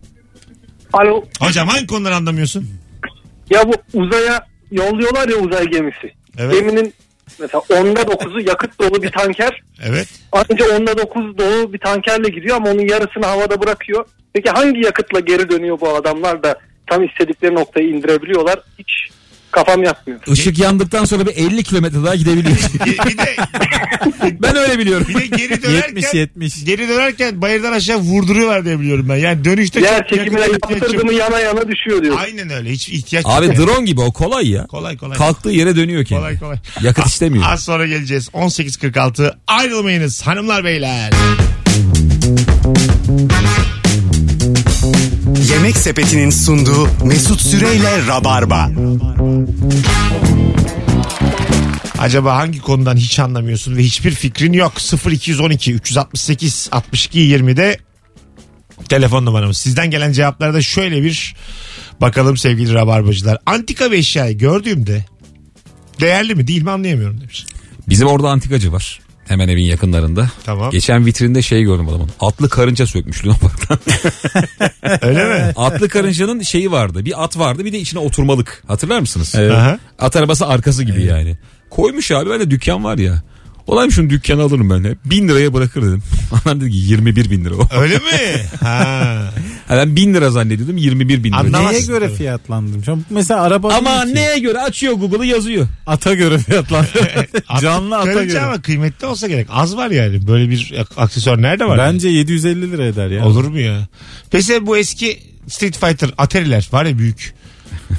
S5: Alo.
S2: Hocam hangi konuları anlamıyorsun?
S5: Ya bu uzaya yolluyorlar ya uzay gemisi.
S2: Evet.
S5: Geminin mesela onda dokuzu yakıt dolu bir tanker.
S2: Evet.
S5: Ayrıca onda dokuz dolu bir tankerle gidiyor ama onun yarısını havada bırakıyor. Peki hangi yakıtla geri dönüyor bu adamlar da tam istedikleri noktayı indirebiliyorlar? Hiç kafam yatmıyor.
S3: Işık yandıktan sonra bir 50 kilometre daha gidebiliyor.
S2: Bir, bir de
S3: ben öyle biliyorum.
S2: bir de geri dönerken
S4: 70-70.
S2: geri dönerken bayırdan aşağı vurduruyorlar diye biliyorum ben. Yani dönüşte
S5: Yer
S2: çok yakın
S5: çekimine
S2: ihtiyaç yok.
S5: yaptırdı mı yana yana düşüyor diyor.
S2: Aynen öyle. Hiç ihtiyaç yok.
S3: Abi drone gibi o kolay ya.
S2: Kolay kolay.
S3: Kalktığı yere dönüyor kendi.
S2: Kolay kolay.
S3: Yakıt istemiyor.
S2: Az sonra geleceğiz. 18.46 ayrılmayınız hanımlar beyler.
S1: Yemek Sepeti'nin sunduğu Mesut Süreyle Rabarba.
S2: Acaba hangi konudan hiç anlamıyorsun ve hiçbir fikrin yok? 0212 368 62 20'de telefon numaramız. Sizden gelen cevaplarda şöyle bir bakalım sevgili rabarbacılar. Antika bir eşyayı gördüğümde değerli mi değil mi anlayamıyorum demiş.
S3: Bizim orada antikacı var. Hemen evin yakınlarında.
S2: Tamam.
S3: Geçen vitrinde şey gördüm adamın. Atlı karınca sökmüş Luna Park'tan.
S2: Öyle mi?
S3: Atlı karıncanın şeyi vardı. Bir at vardı bir de içine oturmalık. Hatırlar mısınız?
S2: Aha.
S3: At arabası arkası gibi yani. Koymuş abi böyle dükkan var ya. Olayım şunu dükkanı alırım ben de. Bin liraya bırakır dedim. Anam dedi ki 21 bin lira o.
S2: Öyle mi? Ha.
S3: Ha, ben bin lira zannediyordum 21 bin lira.
S2: Anlamadım.
S4: Neye
S2: Anlamazsın
S4: göre
S2: tabii.
S4: fiyatlandım? Şu an mesela araba
S3: Ama
S4: değil ki.
S3: neye göre açıyor Google'ı yazıyor.
S4: Ata göre fiyatlandım. Canlı ata
S2: Karınca
S4: göre.
S2: ama kıymetli olsa gerek. Az var yani. Böyle bir aksesuar nerede var?
S4: Bence 750 lira eder ya.
S2: Olur mu ya? Mesela bu eski Street Fighter Atari'ler var ya büyük.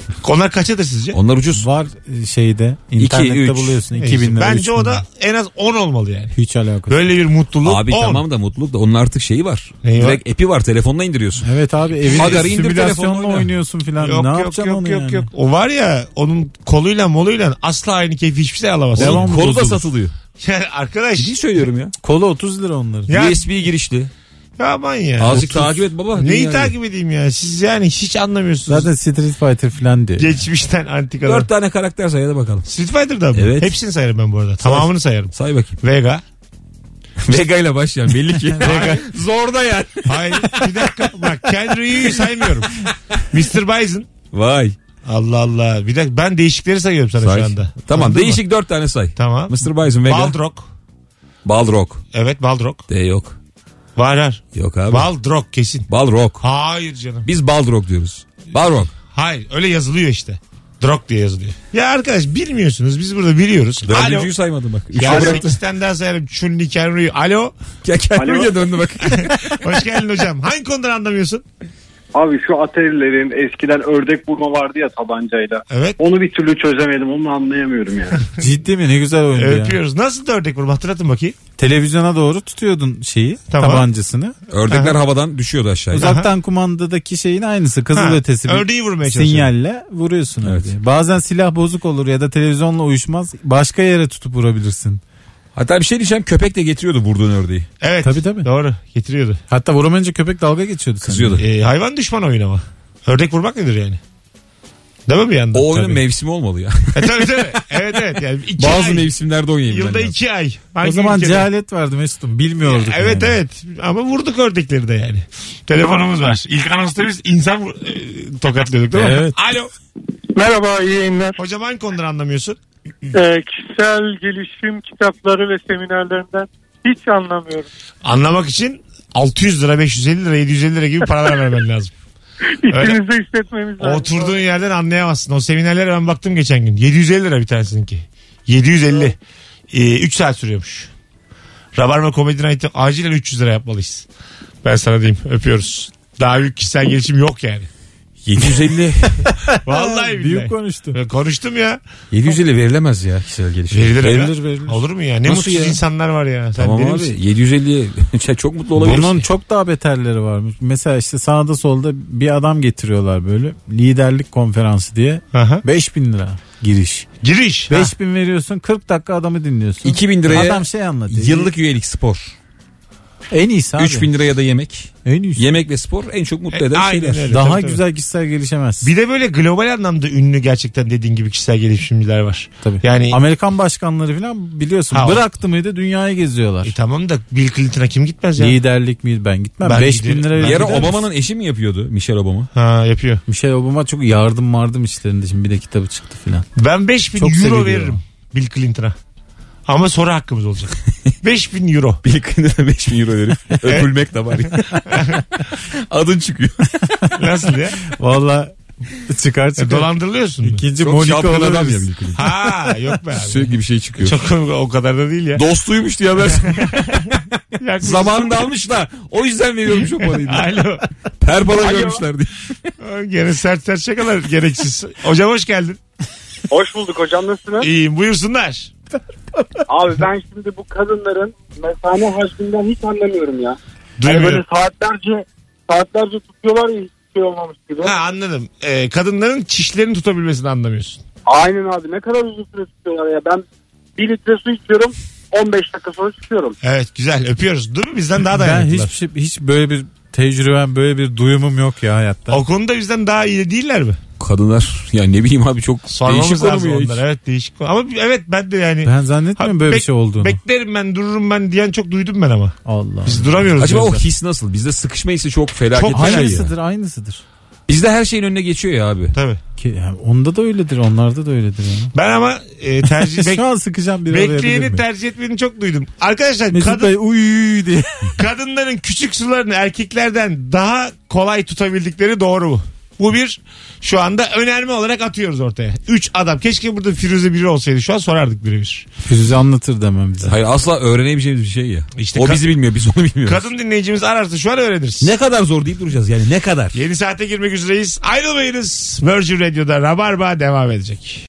S2: Onlar kaçadır sizce?
S3: Onlar ucuz.
S4: Var e, şeyde internette
S3: üç.
S4: buluyorsun 2000 lira.
S2: Bence o da en az 10 olmalı yani.
S4: hiç alakası. yok.
S2: Böyle bir mutluluk
S3: Abi
S2: 10.
S3: tamam da mutluluk da onun artık şeyi var.
S2: Neyi var?
S3: Direkt epi var telefonla indiriyorsun.
S4: Evet abi
S3: Agar,
S4: evinde
S3: indir telefonunu
S4: simülasyonla
S3: oyna.
S4: oynuyorsun filan.
S2: Yok
S4: ne
S2: yok
S4: yapacaksın
S2: yok
S4: onu
S2: yok
S4: yani?
S2: yok. O var ya onun koluyla moluyla asla aynı keyfi hiçbir şey alamazsın.
S4: Devam.
S3: Kolu da
S4: bozulur.
S3: satılıyor.
S2: Yani arkadaş
S3: Ciddi söylüyorum ya.
S4: Kolu 30 lira onların.
S2: Ya-
S3: USB girişli.
S2: aman ya.
S3: Azıcık takip et baba.
S2: Neyi
S3: Dünyayı.
S2: takip edeyim ya? Siz yani hiç anlamıyorsunuz.
S4: Zaten Street Fighter filan diyor.
S2: Geçmişten antikalar.
S3: Dört tane karakter say hadi bakalım.
S2: Street Fighter'da mı?
S3: Evet.
S2: Hepsini sayarım ben bu arada. Tamamını sayarım.
S3: Say bakayım.
S2: Vega.
S3: Vega ile başlayan belli ki. Vega. Zorda yani.
S2: Hayır bir dakika bak Kendrick'i saymıyorum. Mr. Bison.
S3: Vay.
S2: Allah Allah. Bir dakika ben değişikleri sayıyorum sana
S3: Say.
S2: şu anda.
S3: Tamam
S2: Anladın mı?
S3: değişik dört tane say.
S2: Tamam.
S3: Mr. Bison Vega.
S2: Baldrock.
S3: Balrog.
S2: Evet Baldrock.
S3: De yok.
S2: Var var.
S3: Yok abi.
S2: Baldrock kesin.
S3: Balrog.
S2: Hayır canım.
S3: Biz Balrog diyoruz. Balrog.
S2: Hayır öyle yazılıyor işte. Drog diye yazılıyor. Ya arkadaş bilmiyorsunuz biz burada biliyoruz. Alo.
S3: Dördüncüyü saymadım bak. Üçü
S2: Ya
S3: bıraktı.
S2: 8'ten daha sayarım. Chun-Li Kenry'yi. Alo.
S3: Ya kendimce döndü bak.
S2: Hoş geldin hocam. Hangi konudan anlamıyorsun?
S6: Abi şu aterilerin eskiden ördek burma vardı ya tabancayla.
S2: Evet.
S6: Onu bir türlü çözemedim onu anlayamıyorum yani.
S4: Ciddi mi ne güzel oyundu ya.
S2: Öpüyoruz. Nasıl da ördek vurma? Hatırlatın bakayım.
S4: Televizyona doğru tutuyordun şeyi
S2: Tamam.
S4: tabancasını.
S3: Ördekler havadan düşüyordu aşağıya.
S4: Uzaktan kumandadaki şeyin aynısı kızıl
S2: Ha,
S4: ötesi bir
S2: ördeği vurmaya çalışıyorum.
S4: sinyalle vuruyorsun ördeği. Bazen silah bozuk olur ya da televizyonla uyuşmaz. Başka yere tutup vurabilirsin.
S3: Hatta bir şey diyeceğim köpek de getiriyordu vurduğun ördeği.
S2: Evet.
S4: Tabii, tabii.
S2: Doğru. Getiriyordu.
S4: Hatta vuramayınca köpek dalga geçiyordu. seninle.
S3: Kızıyordu.
S2: Ee, hayvan düşman oyun ama. Ördek vurmak nedir yani? Değil mi bir yandan?
S3: O oyunun
S2: Tabii.
S3: mevsimi olmalı ya.
S2: E, tabii tabii. Evet evet. Yani iki
S3: Bazı
S2: ay,
S3: mevsimlerde oynayayım ben.
S2: Yılda
S3: lazım.
S2: iki ay.
S4: O
S2: Hangi
S4: zaman
S2: ülkede?
S4: cehalet vardı Mesut'um bilmiyorduk.
S2: Evet
S4: yani.
S2: evet ama vurduk ördekleri de yani. Telefonumuz var. İlk anonsta biz insan vur- e, tokatlıyorduk değil mi?
S4: Evet.
S2: Alo.
S9: Merhaba iyi yayınlar.
S2: Hocam hangi konuları anlamıyorsun?
S9: Ee, kişisel gelişim kitapları ve seminerlerinden hiç anlamıyorum.
S2: Anlamak için 600 lira, 550 lira, 750 lira gibi paralar vermen lazım.
S9: İçimizde hissetmemiz lazım.
S2: Oturduğun yerden anlayamazsın. O seminerlere ben baktım geçen gün. 750 lira bir tanesininki. 750. 3 Ee, saat sürüyormuş. Rabarba Comedy Night'ı acilen 300 lira yapmalıyız. Ben sana diyeyim öpüyoruz. Daha büyük kişisel gelişim yok yani.
S3: 750.
S2: Vallahi
S4: Büyük
S2: billahi.
S4: konuştu.
S2: Ya Konuştum ya.
S3: 750 verilemez ya kişisel gelişim.
S2: Verilir,
S4: Verilir, verilir.
S2: Olur mu ya? Ne
S3: Nasıl
S2: mutsuz
S3: ya?
S2: insanlar var ya. Sen
S3: Tamam
S2: deli
S3: abi
S2: misin?
S3: 750'ye şey, çok mutlu olabilirsin.
S4: Bunun çok daha beterleri varmış. Mesela işte sağda solda bir adam getiriyorlar böyle liderlik konferansı diye.
S2: Aha.
S4: 5000 lira giriş.
S2: Giriş.
S4: 5000 veriyorsun 40 dakika adamı dinliyorsun.
S3: 2000 liraya
S4: Adam şey anlatıyor.
S3: yıllık üyelik spor.
S4: en iyisi abi.
S3: 3000 liraya da yemek.
S4: En iyisi.
S3: Yemek ve spor en çok mutlu
S2: E,
S3: eden
S2: aynen
S3: şeyler.
S2: öyle.
S4: daha
S2: Tabii, tabii.
S4: güzel kişisel gelişemez.
S2: Bir de böyle global anlamda ünlü gerçekten dediğin gibi kişisel gelişimciler var.
S4: Tabii.
S2: Yani
S4: Amerikan başkanları falan biliyorsun.
S2: Ha, o-
S4: bıraktı mıydı dünyayı geziyorlar.
S2: E tamam da Bill Clinton'a kim gitmez ya?
S4: Liderlik mi ben gitmem.
S2: Ben
S4: 5000
S2: giderim.
S4: lira
S3: Bir
S4: gider
S3: ara
S4: misin?
S3: Obama'nın eşi mi yapıyordu? Michelle Obama.
S2: Ha yapıyor.
S4: Michelle şey, Obama çok yardım vardım işlerinde şimdi bir de kitabı çıktı filan.
S2: Ben 5000
S4: Çok
S2: euro
S4: seviliyor.
S2: veririm Bill Clinton'a. Ama soru hakkımız olacak. 5000 euro.
S3: Bir kınıra 5000 euro verip öpülmek de var. ya. Adın çıkıyor.
S2: Nasıl ya?
S4: Valla çıkar
S2: E, Dolandırılıyorsun. mu?
S4: İkinci
S3: Çok
S4: Monika
S3: şapkın adam ya
S4: olabiliriz.
S3: Bill Clinton.
S2: Ha yok be abi.
S3: Sürekli bir şey çıkıyor.
S2: Çok komik, o kadar da değil ya.
S3: Dostuymuş diye haber.
S2: Yaklaşık-
S3: Zamanında almışlar. O yüzden veriyormuş o parayı.
S2: Alo.
S3: Perpala görmüşler diye.
S2: Gene sert sert şakalar gereksiz. Hocam hoş geldin.
S5: Hoş bulduk hocam nasılsınız?
S2: İyiyim buyursunlar.
S5: Abi ben şimdi bu kadınların mesane hacminden hiç anlamıyorum ya. Hani böyle
S2: Duymuyorum.
S5: saatlerce saatlerce tutuyorlar ya hiçbir şey olmamış gibi.
S2: Ha anladım. E, kadınların çişlerini tutabilmesini anlamıyorsun.
S5: Aynen abi ne kadar uzun süre tutuyorlar ya. Ben 1 litre su içiyorum 15 dakika sonra çıkıyorum.
S2: Evet güzel öpüyoruz. Değil mi? Bizden daha
S4: Ben
S2: dayanıklılar.
S4: hiçbir şey, hiç böyle bir tecrübem böyle bir duyumum yok ya hayatta.
S2: O konuda bizden daha iyi değiller mi?
S3: Kadınlar ya ne bileyim abi çok
S2: Sormamız
S3: değişik konu
S2: lazım
S3: bu ya.
S2: onlara.
S3: hiç.
S2: Evet değişik konu. Ama evet ben de yani.
S4: Ben zannetmiyorum
S2: Ha,
S4: böyle bir
S2: bek-
S4: şey olduğunu.
S2: Beklerim ben dururum ben diyen çok duydum ben ama.
S4: Allah.
S2: Biz duramıyoruz.
S3: Acaba o
S2: biraz da.
S3: his nasıl? Bizde sıkışma hissi çok felaket.
S2: Çok
S3: bir şey ya.
S4: Aynısıdır aynısıdır.
S3: Bizde her şeyin önüne geçiyor ya abi.
S2: Tabii.
S4: Ki, yani onda da öyledir onlarda da öyledir. Yani.
S2: Ben ama e, tercih bek-
S4: Şu an sıkacağım bir arayabilir
S2: bekleyeni
S4: miyim?
S2: tercih etmeyeni çok duydum. Arkadaşlar
S4: Mesut
S2: kadın,
S4: Bey uy diye.
S2: kadınların küçük sularını erkeklerden daha kolay tutabildikleri doğru mu? Bu bir şu anda önerme olarak atıyoruz ortaya. Üç adam. Keşke burada Firuze biri olsaydı. Şu an sorardık biri bir.
S4: Firuze anlatır demem bize.
S3: Hayır asla öğrenemeyeceğimiz bir şey ya.
S2: İşte
S3: o
S2: ka-
S3: bizi bilmiyor biz onu bilmiyoruz.
S2: Kadın dinleyicimiz ararsa şu an öğreniriz.
S3: Ne kadar zor deyip duracağız yani ne kadar.
S2: Yeni saate girmek üzereyiz. Ayrılmayınız. Virgin Radio'da Rabarba devam edecek.